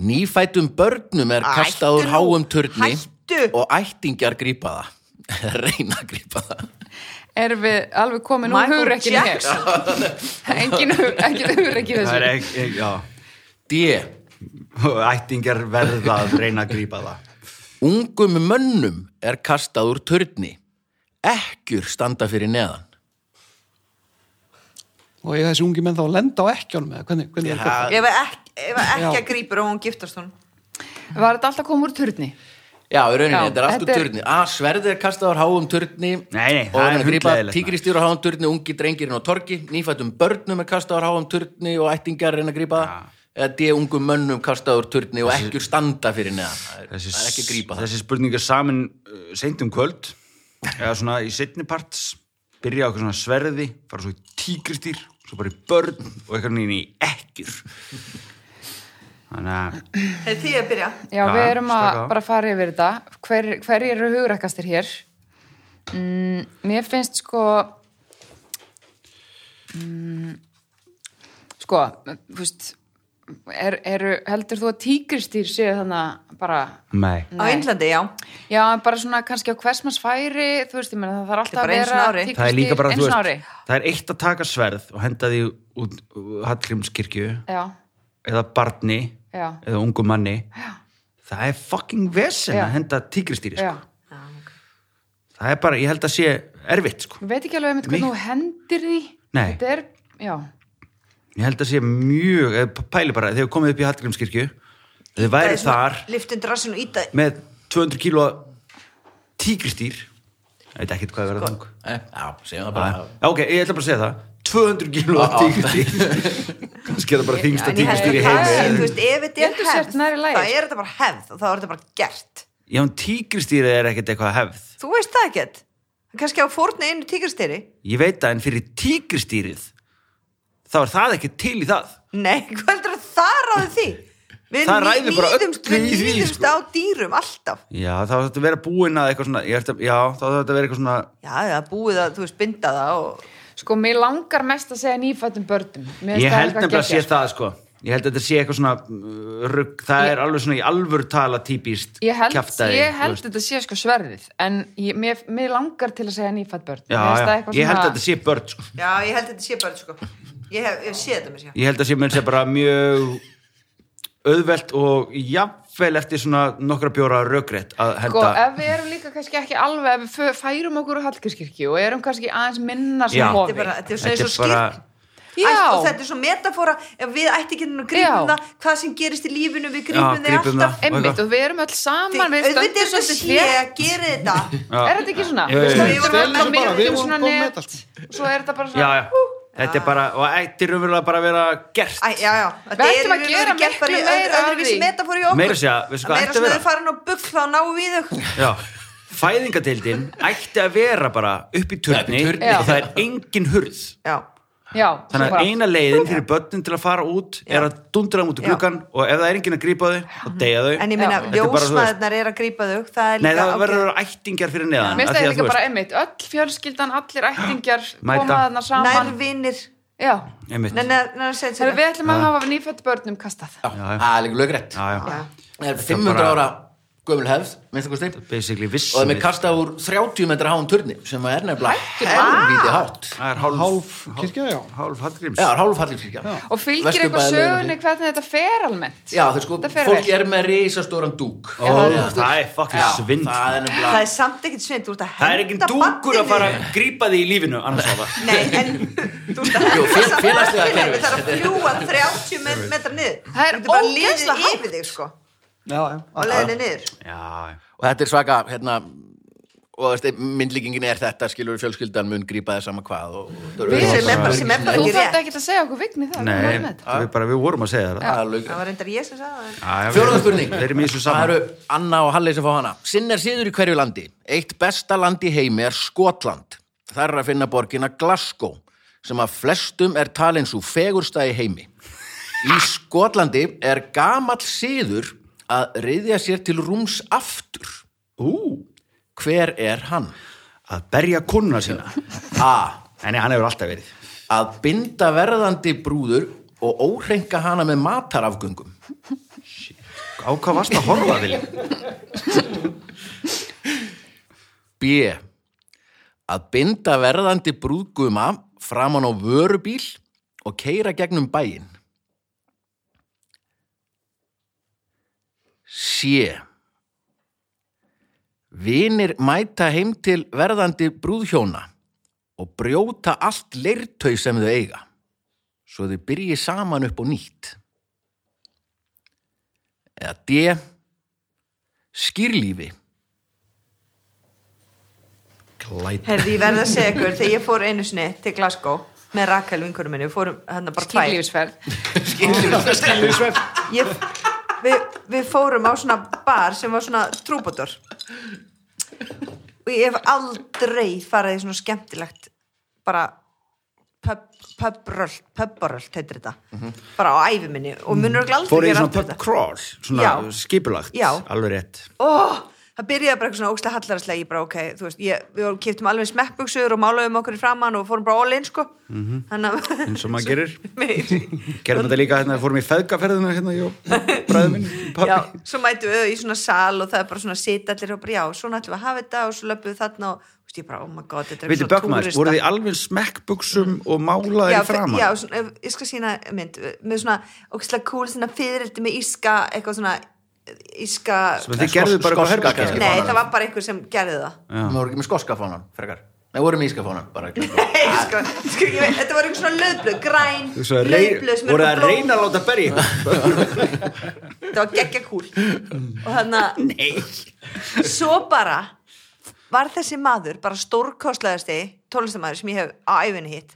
[SPEAKER 1] Nýfætum börnum er
[SPEAKER 3] Hættu
[SPEAKER 1] kastað úr
[SPEAKER 3] nú,
[SPEAKER 1] háum turni
[SPEAKER 3] hættu.
[SPEAKER 1] og ættingjar grípa það. (laughs) Reyna að grípa það.
[SPEAKER 2] Erum við alveg komin úr
[SPEAKER 3] Michael
[SPEAKER 2] hugur ekki hér?
[SPEAKER 3] Jackson.
[SPEAKER 2] (laughs) Engin hugur ekki
[SPEAKER 5] það er
[SPEAKER 2] þessu.
[SPEAKER 5] ekki, já
[SPEAKER 1] D.
[SPEAKER 5] Og Ættingjar verða að reyna að grípa það
[SPEAKER 1] Ungum mönnum er kastað úr törni. Ekkjur standa fyrir neðan.
[SPEAKER 4] Og ég þessi ungi menn þá að lenda á ekkjónum eða hvernig, hvernig er þetta?
[SPEAKER 3] Ef að ekki, ef að ekki
[SPEAKER 4] Já.
[SPEAKER 3] að grípur og hún giftast hún.
[SPEAKER 2] Var þetta alltaf komið úr turni?
[SPEAKER 1] Já, í rauninni,
[SPEAKER 2] Já,
[SPEAKER 1] þetta er allt úr
[SPEAKER 2] þetta er-
[SPEAKER 1] törni. A, sverðið er kastað úr háum törni.
[SPEAKER 5] Nei, nei,
[SPEAKER 1] og
[SPEAKER 5] það
[SPEAKER 1] hann
[SPEAKER 5] er
[SPEAKER 1] er grípa
[SPEAKER 5] hundleiðilegt, maður.
[SPEAKER 1] tígristýr á háum törni, ungi drengirinn á torgi, nýfættum börnum er kastað úr háum törni og ættingar reyna að grípa það. Eða D, ungum mönnum kastað úr törni og ekkjur standa fyrir neðan. Það er, það er ekki að grípa það.
[SPEAKER 5] Þessi spurning er samin uh, seint um kvöld eða svona í setni parts byrja á eitthvað svona sverði fara svo í tígristýr, svo bara í börn og eitthvað nýni í ekkjur Þannig að
[SPEAKER 3] Hefði því að byrja.
[SPEAKER 2] Já,
[SPEAKER 5] Já,
[SPEAKER 2] við erum að
[SPEAKER 5] slaka á.
[SPEAKER 2] bara fara yfir þetta. Hver, hver eru hugurekkastir hér? Mm, mér finnst sko... Mm, sko, þú veist, er, eru, heldur þú að tígristýr séu þannig bara
[SPEAKER 5] Nei.
[SPEAKER 3] á Índlandi, já
[SPEAKER 2] já, bara svona kannski á hversmanns færi þú veist, ég meina það þarf alltaf
[SPEAKER 3] bara
[SPEAKER 2] að
[SPEAKER 3] einu
[SPEAKER 2] vera
[SPEAKER 3] sinni ári.
[SPEAKER 2] tígrisdýr
[SPEAKER 5] Það er líka bara,
[SPEAKER 2] einu
[SPEAKER 5] þú
[SPEAKER 2] sinni
[SPEAKER 5] veist, það er eitt að taka sverð og henda því út uh, Hallgrímskirkju
[SPEAKER 2] ári já,
[SPEAKER 5] eða barni
[SPEAKER 2] já,
[SPEAKER 5] eða ungu manni. Það er fucking vesen
[SPEAKER 2] Já.
[SPEAKER 5] að henda tígristýri,
[SPEAKER 2] já
[SPEAKER 5] sko. Það er bara, ég held að sé erfitt, sko.
[SPEAKER 2] ég veit ekki alveg einmitt hvernig þú hendir því
[SPEAKER 5] Nei.
[SPEAKER 2] þetta er, já,
[SPEAKER 5] Ég held að sé mjög, eh, pæli bara, þegar við komum upp í Hallgrímskirkju, þið væri þar
[SPEAKER 3] liftundur rassinu íta
[SPEAKER 5] með 200 kíló tígristýr ég veit ekkert hvað er
[SPEAKER 3] Sko-
[SPEAKER 5] verið þang
[SPEAKER 1] Eh, Já, segjum það bara
[SPEAKER 5] Já, ok, ég ætla bara að segja það 200 kíló
[SPEAKER 1] Já, já.
[SPEAKER 5] tígristýr
[SPEAKER 3] (laughs)
[SPEAKER 5] kannski er það bara þingsta
[SPEAKER 3] en ég held
[SPEAKER 5] tígristýr í
[SPEAKER 3] að það sé,
[SPEAKER 5] heimi
[SPEAKER 3] þú veist, ef þetta er
[SPEAKER 2] Getur sett
[SPEAKER 3] hefð
[SPEAKER 2] nær í lagi,
[SPEAKER 3] þá
[SPEAKER 2] sko.
[SPEAKER 3] er þetta bara hefð og þá er þetta bara gert
[SPEAKER 5] já, en tígristýr er ekkert eitthvað hefð
[SPEAKER 3] þú veist það ekkert kannski á fórna einu tíkastýri
[SPEAKER 5] ég veit það, en fyrir tígristýrið þá er það ekki til í það
[SPEAKER 3] nei, (laughs) hvað heldur að það ráði því við
[SPEAKER 5] Það ræður bara
[SPEAKER 3] nýðumst,
[SPEAKER 5] öllu
[SPEAKER 3] við
[SPEAKER 5] í því,
[SPEAKER 3] nýðumst
[SPEAKER 5] sko.
[SPEAKER 3] á dýrum alltaf
[SPEAKER 5] já, þá þarf þetta að vera búin að eitthvað svona ég ætla, já, þá þarf þetta að vera eitthvað svona
[SPEAKER 3] já, það er búið að, þú veist, binda það og
[SPEAKER 2] sko, mér langar mest að segja nýfættum börnum Mér finnst
[SPEAKER 5] ég
[SPEAKER 2] það
[SPEAKER 5] held
[SPEAKER 2] eitthvað
[SPEAKER 5] nefnilega að sé
[SPEAKER 2] geggjað.
[SPEAKER 5] það, sko ég held að þetta sé eitthvað svona uh, rugg, það er alveg svona í alvöru tala típist
[SPEAKER 2] Ég held,
[SPEAKER 5] kjaftaði,
[SPEAKER 2] ég
[SPEAKER 5] þú
[SPEAKER 2] held
[SPEAKER 5] veist.
[SPEAKER 2] þetta sé sko sverðið en ég, mér, mér langar til að segja nýfætt börn
[SPEAKER 5] já,
[SPEAKER 2] Mér finnst
[SPEAKER 5] já,
[SPEAKER 2] það
[SPEAKER 5] ég
[SPEAKER 2] eitthvað svona-
[SPEAKER 5] held að þetta sé börn, sko
[SPEAKER 3] já, ég held að þetta sé bara, sko ég hef, ég sé þetta með sér
[SPEAKER 5] Ég held að sé mér sé bara mjög auðvelt og jafnvel eftir svona nokkra bjóra rökrétt að
[SPEAKER 2] Sko,
[SPEAKER 5] henda
[SPEAKER 2] ef við erum líka kannski ekki alveg, ef við fö- færum okkur úr Hallgrímskirkju og erum kannski aðeins minna
[SPEAKER 5] Já.
[SPEAKER 2] svona
[SPEAKER 3] þetta er bara,
[SPEAKER 2] hofi.
[SPEAKER 3] þetta er svona eins og
[SPEAKER 5] bara,
[SPEAKER 3] skýrt
[SPEAKER 2] Já,
[SPEAKER 3] Æst, og þetta er svo metafóra ef við ætti ekki að grípum
[SPEAKER 2] Já.
[SPEAKER 3] það hvað sem gerist í lífinu, við grípum
[SPEAKER 5] Já,
[SPEAKER 3] þið
[SPEAKER 5] grípum það.
[SPEAKER 3] alltaf
[SPEAKER 2] einmitt, og við erum öll saman,
[SPEAKER 3] Þið-
[SPEAKER 2] við
[SPEAKER 3] auðvitað
[SPEAKER 2] stöndum
[SPEAKER 3] er þetta
[SPEAKER 2] svolítið
[SPEAKER 3] sé
[SPEAKER 2] hér.
[SPEAKER 3] að gera þetta
[SPEAKER 2] Er þetta ekki svona?
[SPEAKER 5] Já, já, já.
[SPEAKER 2] stöndum
[SPEAKER 4] allar
[SPEAKER 2] þarna
[SPEAKER 3] Við vorum
[SPEAKER 4] bara, við
[SPEAKER 2] myrtum
[SPEAKER 4] vorum
[SPEAKER 2] svona
[SPEAKER 4] komin með
[SPEAKER 2] net,
[SPEAKER 4] þetta,
[SPEAKER 2] Svo er þetta bara
[SPEAKER 5] Já,
[SPEAKER 2] svona, Ah.
[SPEAKER 5] já, þetta er bara og ættir raunverulega bara að vera gert
[SPEAKER 3] Æ, já, já, þetta
[SPEAKER 2] Við
[SPEAKER 3] er í
[SPEAKER 2] ættum að
[SPEAKER 3] raun og
[SPEAKER 2] gera
[SPEAKER 3] veru gert bara í
[SPEAKER 2] miklu
[SPEAKER 3] öð-
[SPEAKER 2] meira af
[SPEAKER 3] öðruvísi
[SPEAKER 2] því.
[SPEAKER 3] metafóru í okkur.
[SPEAKER 5] Meira að segja, veistu hvað
[SPEAKER 3] Meira
[SPEAKER 5] ætti að
[SPEAKER 3] svona
[SPEAKER 5] vera?
[SPEAKER 3] þau farin á bugl þá náum við þau
[SPEAKER 5] Já, fæðingadeildin ætti að vera bara upp í turni
[SPEAKER 1] Upp í turni.
[SPEAKER 5] og það er engin hurð
[SPEAKER 3] Já,
[SPEAKER 2] já, svo
[SPEAKER 5] Þannig
[SPEAKER 2] bara-
[SPEAKER 5] að eina leiðin fyrir börnin til að fara út er að dundra þeim út úr
[SPEAKER 3] Já. Mhm.
[SPEAKER 5] gluggan og ef það er enginn að grípa þau, þá deyja þau
[SPEAKER 3] en ég meina,
[SPEAKER 5] Þetta er bara, þú veist-
[SPEAKER 3] ljósmaðurnar er að grípa þau það er
[SPEAKER 5] Nei,
[SPEAKER 3] líka
[SPEAKER 5] það verður
[SPEAKER 3] ágætt.
[SPEAKER 5] ættingjar fyrir
[SPEAKER 2] Mér
[SPEAKER 5] neðan af
[SPEAKER 2] finnst
[SPEAKER 5] því
[SPEAKER 2] það
[SPEAKER 5] að þú
[SPEAKER 2] líka bara
[SPEAKER 5] veist-
[SPEAKER 2] einmitt, öll fjölskyldan, allir ættingjar
[SPEAKER 5] (gasps) Mæta.
[SPEAKER 2] koma þarna saman.
[SPEAKER 3] nærvinir
[SPEAKER 2] Já,
[SPEAKER 5] Einmitt.
[SPEAKER 3] Nei, nei, nei, segðu
[SPEAKER 2] Þegar
[SPEAKER 3] þetta.
[SPEAKER 2] við ætlum að hafa nýfætt börnum kastað.
[SPEAKER 1] Já, það er líka lögrætt
[SPEAKER 5] Já, já.
[SPEAKER 3] Já.
[SPEAKER 1] Það er 500
[SPEAKER 5] bara-
[SPEAKER 1] ára gömul hefð, minnst það kosti
[SPEAKER 5] basically
[SPEAKER 1] og
[SPEAKER 5] vissum
[SPEAKER 1] það er með
[SPEAKER 5] við-
[SPEAKER 1] kasta úr 30 metra háum turni sem er nefnilega helvítið hátt
[SPEAKER 5] það er hálf,
[SPEAKER 4] Hálf kirkja, já.
[SPEAKER 5] hálf Hallgríms
[SPEAKER 1] Já, það er hálf Hallgrímskirkja
[SPEAKER 2] Og fylgir
[SPEAKER 1] Vesturbæjarlauginni.
[SPEAKER 2] eitthvað sögunni hvernig þetta fer almennt.
[SPEAKER 1] Já, það er sko,
[SPEAKER 2] Þetta fer
[SPEAKER 1] fólk
[SPEAKER 2] vel.
[SPEAKER 1] er með risastóran dúk
[SPEAKER 5] Ó, það er fucking
[SPEAKER 1] Já,
[SPEAKER 5] svindl.
[SPEAKER 1] Það er
[SPEAKER 3] það
[SPEAKER 1] nefnilega
[SPEAKER 3] er samt ekkert svind þú ert að henda
[SPEAKER 5] það er ekki dúkur að fara að grípa því í lífinu annars var
[SPEAKER 3] (laughs)
[SPEAKER 5] það
[SPEAKER 3] nei, en þú ert að
[SPEAKER 5] (laughs)
[SPEAKER 1] Jú,
[SPEAKER 3] henda
[SPEAKER 1] fél-
[SPEAKER 3] samt
[SPEAKER 1] félagslega
[SPEAKER 3] bandinu,
[SPEAKER 1] kerfið.
[SPEAKER 3] það er að fljúa 30 met- metra niður
[SPEAKER 2] Það er
[SPEAKER 3] Þú getur bara liðið
[SPEAKER 2] ógeðslega hátt.
[SPEAKER 3] yfir þig sko
[SPEAKER 4] Já, já.
[SPEAKER 3] á leiðinni niður
[SPEAKER 5] já,
[SPEAKER 1] og þetta er svaka hérna, og þú veist, myndlíkingin er þetta skilur fjölskyldan mun grípa þér sama hvað og, og, og,
[SPEAKER 2] Við- Sem
[SPEAKER 3] er bara- sem er bara-
[SPEAKER 1] Nei,
[SPEAKER 2] Þú
[SPEAKER 3] ekki rétt.
[SPEAKER 2] þarft ekki að segja okkur vigni það. við
[SPEAKER 5] nei,
[SPEAKER 2] erum með þetta.
[SPEAKER 5] við, bara, við vorum að segja það
[SPEAKER 1] það er lögrétt.
[SPEAKER 3] það var reyndar ég sem sagði það
[SPEAKER 5] Já, já, við-
[SPEAKER 1] Fjóruða spurning
[SPEAKER 5] við erum í þessu
[SPEAKER 1] Það
[SPEAKER 5] saman
[SPEAKER 1] eru Anna og Halli sem fá hana Sinn er síður í hverju landi Eitt besta land í heimi er Skotland Þar er að finna borgina Glasgow sem að flestum er talin svo fegursta í heimi Í Skotlandi er gamall síður að riðja sér til rúms aftur
[SPEAKER 5] ú,
[SPEAKER 1] Hver er hann?
[SPEAKER 5] að berja konuna sína
[SPEAKER 1] (laughs) A.
[SPEAKER 5] en hann hefur alltaf verið
[SPEAKER 1] Að binda verðandi brúður og óhreinka hana með matarafgöngum
[SPEAKER 5] á hvað varst að horfa vilja
[SPEAKER 1] B. Að binda verðandi brúðguma framan á vörubíl og keira gegnum bæinn. C. Vinir mæta heim til verðandi brúðhjóna og brjóta allt leirtau sem þau eiga svo þau byrji saman upp á nýtt. Eða D. Skýrlífi. Glæta.
[SPEAKER 3] Herði, ég verði að segja ykkur, þegar ég fór einu sinni til Glasgow með Rakel vinkunum minni, við fórum hérna bara tvær.
[SPEAKER 2] Kynlífsferð.
[SPEAKER 4] Skilningsverð.
[SPEAKER 3] Ég, við, við fórum á svona bar sem var svona trúbótor og ég hef aldrei farið í svona skemmtilegt bara pub- pubrölt, pubrölt heitir þetta, bara á æfi minni og munur ekki aldrei
[SPEAKER 5] Mhm. fór í
[SPEAKER 3] gera
[SPEAKER 5] svona
[SPEAKER 3] aftur
[SPEAKER 5] pub
[SPEAKER 3] þetta.
[SPEAKER 5] crawl svona
[SPEAKER 3] Já.
[SPEAKER 5] skipulagt,
[SPEAKER 3] Já.
[SPEAKER 5] alveg rétt
[SPEAKER 3] Ó, það byrjaði bara eitthvað svona ógstlega hallarslega ég bara ok, þú veist, ég, við vorum kiptum alveg smekkbuksur og málaðum okkur í framann og fórum bara all in sko mm
[SPEAKER 5] Mhm.
[SPEAKER 3] -hmm.
[SPEAKER 5] eins og maður gerir (laughs)
[SPEAKER 3] Meir.
[SPEAKER 5] gerðum þetta líka hérna, fórum í feðgaferðina hérna, ég og bræðum minn
[SPEAKER 3] já, svo mætu við í svona sal og það er bara svona sit allir og bara já, svona ætlum við að hafa þetta og svo löpum við þarna og þú veist, ég bara, oh my god, þetta er
[SPEAKER 5] veitir bökmaður, voru þið alveg smekkbuksum og málaði
[SPEAKER 3] já,
[SPEAKER 5] framan
[SPEAKER 3] já, svona, ef- ég skal sína mynd með svona ógstlega cool svona fyririldi með íska, eitthvað svona eh, íska,
[SPEAKER 5] Sem þið Ah. gerðu bara eitthvað
[SPEAKER 1] Skoska
[SPEAKER 5] herbergi.
[SPEAKER 1] kannski.
[SPEAKER 3] nei, það var bara einhver sem gerði það
[SPEAKER 1] Við vorum ekki með skoska fánan, frekar. Nei, vorum í íska fánan, bara ekki.
[SPEAKER 3] Nei, sko, sko, ég veit, þetta var einhver svona löðblöð, græn,
[SPEAKER 5] Þú veist, að rey-
[SPEAKER 3] löðblöð sem er
[SPEAKER 5] voru
[SPEAKER 3] bara
[SPEAKER 5] það að
[SPEAKER 3] blóm.
[SPEAKER 5] reyna að láta berja
[SPEAKER 3] (laughs)
[SPEAKER 5] ykkur?
[SPEAKER 3] Þetta var geggja kúl. Og þannig að, svo bara var þessi maður, bara stórkostlegaðasti tónlistamæður sem ég hef á æfinni hitt.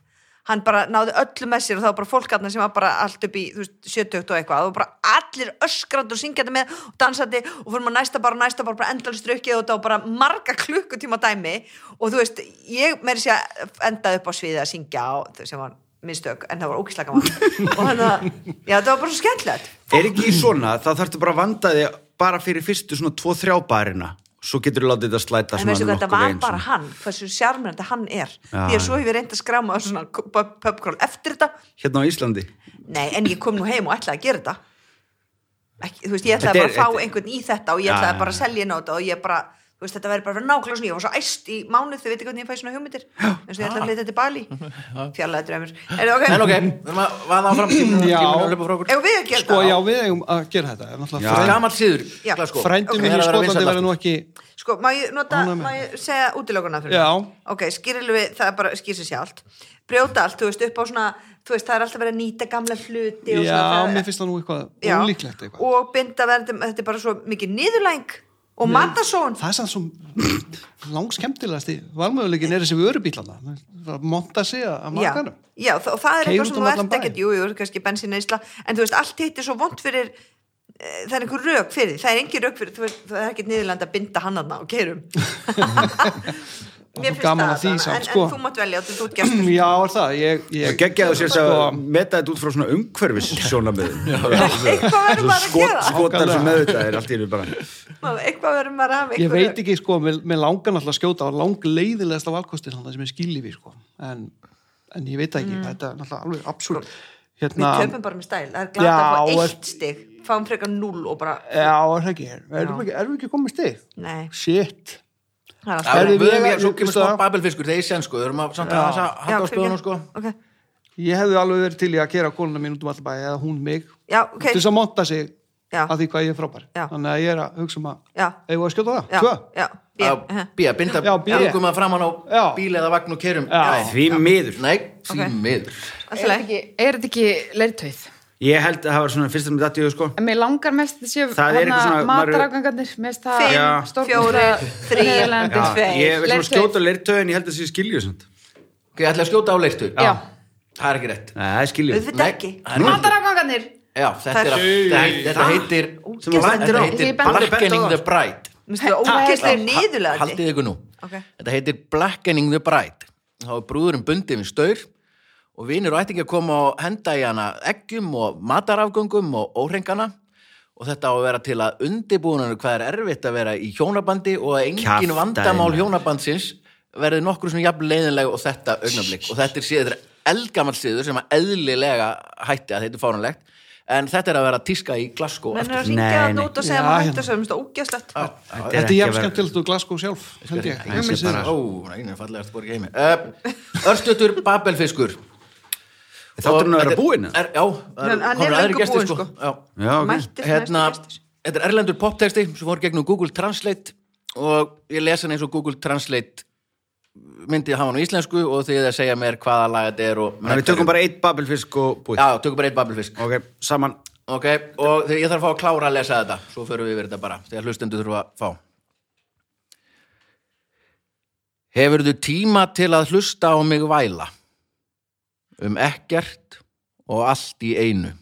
[SPEAKER 3] Hann bara náði öllu með sér og það var bara fólk aðna sem var bara allt upp í, þú veist, 70 og eitthvað. Það var bara allir öskrandi og syngjandi með og dansandi og fórum að næsta bara, næsta bara, bara endalist drukkið og þetta var bara marga klukkutíma dæmi og þú veist, ég meiri sér endaði upp á sviðið að syngja og þau sem var minnstök, en það var ókíslega gaman og hann að, já, það var bara svo skemmtilegt
[SPEAKER 5] er ekki í svona, það þarftu bara að vanda þig bara fyrir fyrstu svona 2-3 barina svo getur þú látið þetta slæta
[SPEAKER 3] en veistu
[SPEAKER 5] svona
[SPEAKER 3] hvað, þetta var
[SPEAKER 5] veginn
[SPEAKER 3] bara
[SPEAKER 5] svona.
[SPEAKER 3] hann hversu sjármennandi hann er
[SPEAKER 5] Já,
[SPEAKER 3] því að svo
[SPEAKER 5] já.
[SPEAKER 3] hefur ég reynd að skráma á svona pubcrawl eftir þetta,
[SPEAKER 5] hérna á Íslandi
[SPEAKER 3] nei en ég kom nú heim og ætlaði að gera þetta Ekki, þú veist, ég
[SPEAKER 5] Þetta
[SPEAKER 3] ætlaði
[SPEAKER 5] er-
[SPEAKER 3] bara að fá
[SPEAKER 5] þetta-
[SPEAKER 3] einhvern í þetta og ég
[SPEAKER 5] Já,
[SPEAKER 3] ætlaði
[SPEAKER 5] já,
[SPEAKER 3] bara að
[SPEAKER 5] já.
[SPEAKER 3] selja inn á þetta og ég bara, þú veist, þetta væri bara að vera nákvæmlega svona, ég var svo æst í mánuð, þau veit ekki hvernig ég fæ svona hugmyndir eins og ég ætlaði að flytja til Bali fjarlæði draumur, er
[SPEAKER 1] En
[SPEAKER 3] það ok?
[SPEAKER 1] ok, við erum að
[SPEAKER 4] (laughs)
[SPEAKER 1] vaða áfram tíminu,
[SPEAKER 4] Já.
[SPEAKER 1] tíminu að löpa frá okkur.
[SPEAKER 3] Ef við að gera
[SPEAKER 4] sko já,
[SPEAKER 3] það,
[SPEAKER 4] við eigum að gera þetta en náttúrulega frændi-
[SPEAKER 1] Gammal síður,
[SPEAKER 3] Já.
[SPEAKER 1] Glasgow.
[SPEAKER 4] frændi
[SPEAKER 1] sko. Ok.
[SPEAKER 4] minn
[SPEAKER 1] Það
[SPEAKER 3] hérna
[SPEAKER 4] í Skotlandi
[SPEAKER 1] er að vera vinsæll
[SPEAKER 4] verður nú ekki
[SPEAKER 3] sko, má ég nota,
[SPEAKER 4] Ánægð með
[SPEAKER 3] má ég segja útilökunna fyrir
[SPEAKER 4] já,
[SPEAKER 3] mig? ok, skýrðu við, það er bara skýr sér sjálft brjóta allt, þú veist, upp á svona þú veist, það er alltaf verið að nýta gamla hluti og
[SPEAKER 4] já,
[SPEAKER 3] svona,
[SPEAKER 4] mér finnst það nú eitthvað
[SPEAKER 3] Já.
[SPEAKER 4] ólíklegt eitthvað
[SPEAKER 3] og binda verðum, þetta er bara svo mikið niðurlæng og matasón
[SPEAKER 4] það er sann svo (laughs) langskemmtilegasti valmöðuleikin er þessi vörubílana að monta sig að
[SPEAKER 3] já,
[SPEAKER 4] makanum
[SPEAKER 3] já, þó- og það er
[SPEAKER 4] Keyra
[SPEAKER 3] eitthvað
[SPEAKER 4] út
[SPEAKER 3] sem
[SPEAKER 4] um
[SPEAKER 3] þú
[SPEAKER 4] allan
[SPEAKER 3] ert
[SPEAKER 4] bæ.
[SPEAKER 3] ekkert jú, jú, kannski bensinneisla, en þú veist, allt hitt er svo vond fyrir eh, það er einhver rök fyrir, því, það er engin rök fyrir þú veist, það er ekkert niðurlænd að binda hann aðna og keirum
[SPEAKER 4] svo gaman að því
[SPEAKER 3] allavega,
[SPEAKER 4] samt,
[SPEAKER 3] en,
[SPEAKER 4] sko.
[SPEAKER 3] en þú mátt velja, þú ert gestur
[SPEAKER 4] (clears throat) já, er það ég,
[SPEAKER 5] það
[SPEAKER 4] ég,
[SPEAKER 5] geggjaðu sér að meta þetta út frá svona umhverfis
[SPEAKER 3] (laughs)
[SPEAKER 5] sjónamöðum
[SPEAKER 3] eitthvað verður maður að
[SPEAKER 5] skot,
[SPEAKER 3] gera
[SPEAKER 5] skotar sem með þetta er allt í einu bara
[SPEAKER 3] eitthvað verður maður að hafa
[SPEAKER 4] ég
[SPEAKER 3] einhver rök.
[SPEAKER 4] veit ekki sko, mér, mér langar náttúrulega að skjóta á langleiðilegasta valkostin hann sem er skilífi sko. en, en ég veit það ekki, þetta er náttúrulega alveg absúrt
[SPEAKER 3] Mm. Við
[SPEAKER 4] hérna,
[SPEAKER 3] töpum bara með stæl, það er glætt að
[SPEAKER 4] Já,
[SPEAKER 3] fá
[SPEAKER 4] og-
[SPEAKER 3] eitt stig, fáum frekar null og bara,
[SPEAKER 4] já, er það ekki erum
[SPEAKER 3] Já.
[SPEAKER 4] við ekki, erum við ekki komið stig?
[SPEAKER 3] nei,
[SPEAKER 4] shit,
[SPEAKER 3] það er alltaf
[SPEAKER 1] Já,
[SPEAKER 4] Herðu,
[SPEAKER 1] við erum
[SPEAKER 4] ég-
[SPEAKER 1] ekki, svo
[SPEAKER 4] ég-
[SPEAKER 1] kemur
[SPEAKER 4] veistu
[SPEAKER 1] smá
[SPEAKER 4] það?
[SPEAKER 1] babelfiskur, það er í sen sko, við erum að samt
[SPEAKER 4] Já.
[SPEAKER 1] aðeins að
[SPEAKER 3] Já,
[SPEAKER 1] halda á spjóðunum sko.
[SPEAKER 3] fyrirgefðu. Ok.
[SPEAKER 4] ég hefði alveg verið til í að kera konuna mín út um allabæði eða hún mig
[SPEAKER 3] Já, ok.
[SPEAKER 4] til þess að monta sig
[SPEAKER 3] Já.
[SPEAKER 4] að því hvað ég er frábær
[SPEAKER 3] Já.
[SPEAKER 4] þannig að ég er að hugsa um að
[SPEAKER 3] Já.
[SPEAKER 4] eigum við að skjóta á það,
[SPEAKER 3] Já,
[SPEAKER 4] tvö
[SPEAKER 3] já, B,
[SPEAKER 1] Já,
[SPEAKER 3] aha.
[SPEAKER 1] Bía, binda,
[SPEAKER 4] Já, bía.
[SPEAKER 1] hugum að framann
[SPEAKER 4] Já.
[SPEAKER 1] á bíl eða vagn og kerum.
[SPEAKER 4] Já.
[SPEAKER 5] því miður
[SPEAKER 1] Nei, því
[SPEAKER 3] Ok.
[SPEAKER 1] miður.
[SPEAKER 3] Allt
[SPEAKER 2] Er
[SPEAKER 3] í
[SPEAKER 2] þetta
[SPEAKER 3] lagi.
[SPEAKER 2] ekki, er þetta ekki leirtöið?
[SPEAKER 5] ég held að það var svona fyrsta með þetta ég sko
[SPEAKER 2] En mér langar mest að séu
[SPEAKER 5] Það er eitthvað svona- maður-
[SPEAKER 2] matarafgangarnir, mér finnst það
[SPEAKER 3] Fimm,
[SPEAKER 5] Já.
[SPEAKER 3] fjórir, þrír,
[SPEAKER 5] Já,
[SPEAKER 2] þrýlandi,
[SPEAKER 3] Tveir.
[SPEAKER 5] ég vil svona skjóta leirtöðin, ég held að það sé skilju samt.
[SPEAKER 1] Ok, ég ætla að skjóta á leirtu.
[SPEAKER 2] Já.
[SPEAKER 1] Það er ekki rétt.
[SPEAKER 5] Nei, það er skilju.
[SPEAKER 3] Auðvitað. Þetta
[SPEAKER 1] Nei,
[SPEAKER 3] ekki.
[SPEAKER 1] það er ekki.
[SPEAKER 2] Matarafgangarnir
[SPEAKER 1] Já, þetta er að, þetta- þetta heitir,
[SPEAKER 5] Sem þú bendir á.
[SPEAKER 1] heitir
[SPEAKER 2] Ég bendi á.
[SPEAKER 1] Blackening the Bride.
[SPEAKER 3] Mér finnst það ógeðslega niðurlegandi.
[SPEAKER 1] Haldið ykkur nú.
[SPEAKER 3] Ok.
[SPEAKER 1] Þetta heitir Blackening the Bride. Þá er brúðurinn bundið við staur og vinir og ættingi að koma og henda í hana eggjum og matarafgöngum og óhrengana og þetta á að vera til að undibúinanur hvað er erfitt að vera í hjónabandi og að engin
[SPEAKER 5] Kjaftæði,
[SPEAKER 1] vandamál
[SPEAKER 5] maður.
[SPEAKER 1] hjónabandsins verði nokkru svona jafn leiðinleg og þetta augnablik og þetta er síður eldgammal síður sem að eðlilega hætti að þetta er fáranlegt en þetta er að vera tíska í Glasgow
[SPEAKER 3] Menn er
[SPEAKER 1] aftur.
[SPEAKER 3] að ringja
[SPEAKER 5] Nei,
[SPEAKER 3] það
[SPEAKER 5] nei.
[SPEAKER 3] út og segja
[SPEAKER 4] Já,
[SPEAKER 3] maður
[SPEAKER 4] hérna.
[SPEAKER 3] hægt að segja, mér finnst það ógeðslegt.
[SPEAKER 1] Já, já,
[SPEAKER 5] Þetta er
[SPEAKER 4] Þetta er
[SPEAKER 5] ekki
[SPEAKER 4] jafn
[SPEAKER 5] að vera-
[SPEAKER 4] skemmtilegt og Glasgow sjálf, held ég.
[SPEAKER 5] Nei, ég
[SPEAKER 4] Ég
[SPEAKER 5] sé bara-
[SPEAKER 4] bara...
[SPEAKER 1] Ó, einu fallegast borg í heimi uh, Örstutur Babelfiskur
[SPEAKER 5] (laughs) Þátturinn að vera búinn, eða?
[SPEAKER 1] Er, já, það
[SPEAKER 3] Nei, hann er
[SPEAKER 1] eru
[SPEAKER 3] löngu
[SPEAKER 1] aðri gestir
[SPEAKER 3] búinn,
[SPEAKER 1] sko,
[SPEAKER 3] sko.
[SPEAKER 5] Já, ok.
[SPEAKER 1] Já,
[SPEAKER 3] Mættir
[SPEAKER 1] hérna,
[SPEAKER 3] næstu gestur.
[SPEAKER 1] þetta er erlendur poptexti sem fór gegnum Google Translate og ég lesa hann eins og Google Translate myndið hafa hann á íslensku og þið að segja mér hvaða lag þetta er og
[SPEAKER 5] Þannig að við tökum bara eitt babelfisk og búið.
[SPEAKER 1] Já, tökum bara eitt Babelfisk
[SPEAKER 5] Ok, saman.
[SPEAKER 1] Ok, og þegar ég þarf að fá að klára að lesa þetta svo förum við yfir þetta bara, þegar hlustendur þurfa að fá Hefurðu tíma til að hlusta á mig væla um ekkert og allt í einu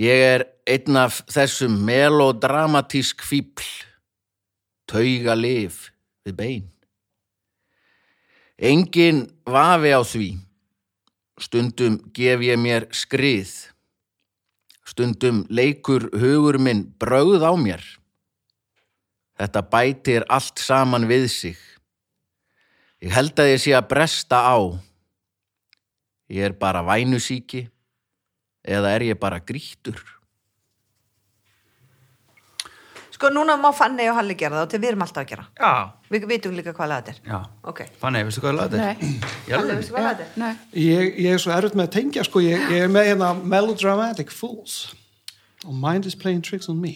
[SPEAKER 1] Ég er einn af þessum melodramatísk fíbl tauga lif við bein Engin vafi á því Stundum gef ég mér skrið. Stundum leikur hugur minn brögð á mér. Þetta bætir allt saman við sig. Ég held að ég sé að bresta á. Ég er bara vænusíki eða er ég bara grýttur?
[SPEAKER 3] Sko, núna má Fanny og Halli gera það og til við erum alltaf að gera.
[SPEAKER 5] Já.
[SPEAKER 3] Við vitum líka hvað laga þetta er.
[SPEAKER 5] Já.
[SPEAKER 3] Ok.
[SPEAKER 5] Fannig, veistu hvað lag þetta
[SPEAKER 2] Nei.
[SPEAKER 5] er? Í alvöru?
[SPEAKER 3] veistu hvað laga þetta er?
[SPEAKER 2] Nei.
[SPEAKER 4] Ég, ég er svo erfitt með að tengja sko, ég, ég er með hérna Melodramatic Fools og Mind is playing tricks on me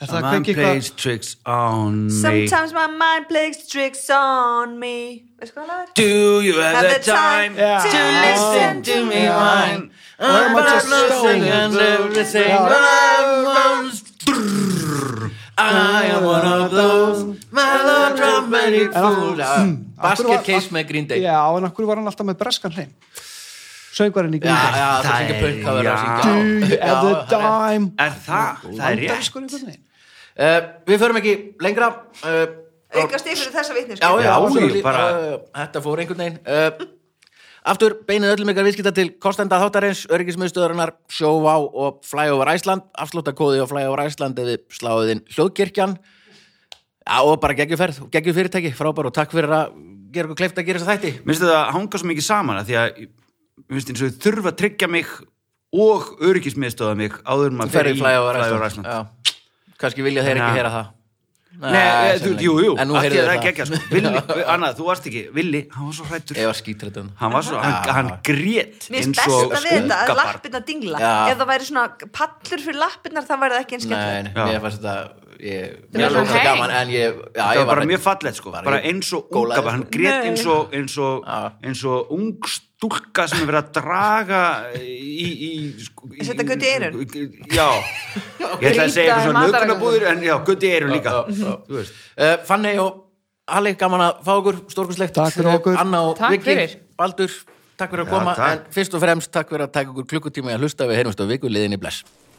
[SPEAKER 4] Er það
[SPEAKER 5] Man
[SPEAKER 4] kveikir eitthvað
[SPEAKER 5] plays tricks on me.
[SPEAKER 3] Sometimes my mind plays tricks on me. Veistu hvað laga þetta er?
[SPEAKER 5] Do you have
[SPEAKER 3] Have
[SPEAKER 5] the time
[SPEAKER 4] Yeah.
[SPEAKER 5] to listen to me
[SPEAKER 4] Yeah.
[SPEAKER 5] whine?
[SPEAKER 4] Why am I
[SPEAKER 5] But
[SPEAKER 4] just
[SPEAKER 5] I'm losing
[SPEAKER 4] stoned?
[SPEAKER 5] and everything
[SPEAKER 4] Yeah.
[SPEAKER 5] but I'm lost. Brrr. I am one of those melodramatic fools
[SPEAKER 1] Basket case með Green Day.
[SPEAKER 4] Já, en af hverju var hann alltaf með breskan hreim? Söngvarinn í
[SPEAKER 1] Já,
[SPEAKER 4] Green Day
[SPEAKER 1] já, það
[SPEAKER 5] Það
[SPEAKER 1] er ekki
[SPEAKER 5] er-
[SPEAKER 1] punk cover að
[SPEAKER 5] já.
[SPEAKER 1] syngja.
[SPEAKER 4] Do
[SPEAKER 1] (laughs)
[SPEAKER 4] you have the
[SPEAKER 1] Já, það er-
[SPEAKER 4] dime
[SPEAKER 5] Er það? Það er rétt
[SPEAKER 4] Bandarískur einhvern veginn
[SPEAKER 1] Eh, Við förum ekki lengra. eh,
[SPEAKER 3] Aukast yfir þessa vitni,
[SPEAKER 1] já, já,
[SPEAKER 3] sko.
[SPEAKER 5] Já,
[SPEAKER 1] já
[SPEAKER 5] ég bara-
[SPEAKER 1] Eh, þetta fór einhvern veginn uh, aftur beinið öllum ykkar viðskipta til kostenda þáttarins, öryggismiðstöðarinnar sjóvá og flyover Æsland afslóttakóði og flyover Æsland eða sláðin hljóðkirkjan já, og bara geggjuferð, og geggjufyrirtæki frábær og takk fyrir að gera okkur kleift að gera þess að þætti
[SPEAKER 5] Minnstu það hanga svo mikið saman að því að mér finnst eins og þau þurfa að tryggja mig og öryggismiðstöða mig áður en maður fer
[SPEAKER 1] ferði flyover
[SPEAKER 5] Flyover
[SPEAKER 1] Æsland já, kannski vilja þeir
[SPEAKER 5] Þannig
[SPEAKER 1] ekki
[SPEAKER 5] að-
[SPEAKER 1] heyra það
[SPEAKER 5] Nei, eh, þú,
[SPEAKER 1] sennilega.
[SPEAKER 5] jú, jú,
[SPEAKER 1] en nú
[SPEAKER 5] af því
[SPEAKER 1] heyrðu
[SPEAKER 5] að það
[SPEAKER 1] þeir
[SPEAKER 5] er ekki
[SPEAKER 1] það
[SPEAKER 5] ekki sko. Villi,
[SPEAKER 1] (laughs)
[SPEAKER 5] annað, þú varst ekki, Villi, hann var svo hrættur
[SPEAKER 1] ég var skítrættan
[SPEAKER 5] Hann var svo, hann,
[SPEAKER 1] Já.
[SPEAKER 5] hann grét
[SPEAKER 3] Mér
[SPEAKER 5] eins
[SPEAKER 3] finnst
[SPEAKER 5] og
[SPEAKER 3] besta við þetta að
[SPEAKER 5] skúkabarn.
[SPEAKER 3] lappirna dingla.
[SPEAKER 1] Já.
[SPEAKER 3] Ef það væri svona pallur fyrir lappirnar, það væri það ekki eins
[SPEAKER 1] Nei,
[SPEAKER 3] skemmt.
[SPEAKER 1] nei,
[SPEAKER 5] Já.
[SPEAKER 1] mér fannst þetta ég,
[SPEAKER 2] var
[SPEAKER 1] Mér fannst
[SPEAKER 2] bara
[SPEAKER 1] þetta
[SPEAKER 2] hang.
[SPEAKER 1] gaman en ég, já,
[SPEAKER 5] Það
[SPEAKER 1] ég
[SPEAKER 5] var bara
[SPEAKER 1] hrædd.
[SPEAKER 5] mjög fallegt sko, bara
[SPEAKER 1] ég
[SPEAKER 5] eins og
[SPEAKER 1] gólaði,
[SPEAKER 5] unga, hann grét eins og, eins og,
[SPEAKER 1] Já.
[SPEAKER 5] eins og ung stúlka sem er verið að draga í, í, sko, í
[SPEAKER 3] Setja gutt í eyrun?
[SPEAKER 5] Já,
[SPEAKER 3] (laughs)
[SPEAKER 5] ég ætla að
[SPEAKER 2] Grýta
[SPEAKER 5] segja eitthvað svona
[SPEAKER 2] matarögum.
[SPEAKER 5] nökunabúður en já, gutt í eirun líka.
[SPEAKER 1] já.
[SPEAKER 5] Þú veist.
[SPEAKER 1] Uh, Fanny og Halli, gaman að fá okkur stórkurslegt
[SPEAKER 4] Takk fyrir okkur.
[SPEAKER 1] Anna og
[SPEAKER 2] Takk
[SPEAKER 1] Viki,
[SPEAKER 2] fyrir.
[SPEAKER 1] Baldur, takk fyrir að
[SPEAKER 5] Já,
[SPEAKER 1] koma
[SPEAKER 5] takk.
[SPEAKER 1] en fyrst og fremst takk fyrir að taka okkur klukkutíma í að hlusta við heyrumst á viku liðinni bless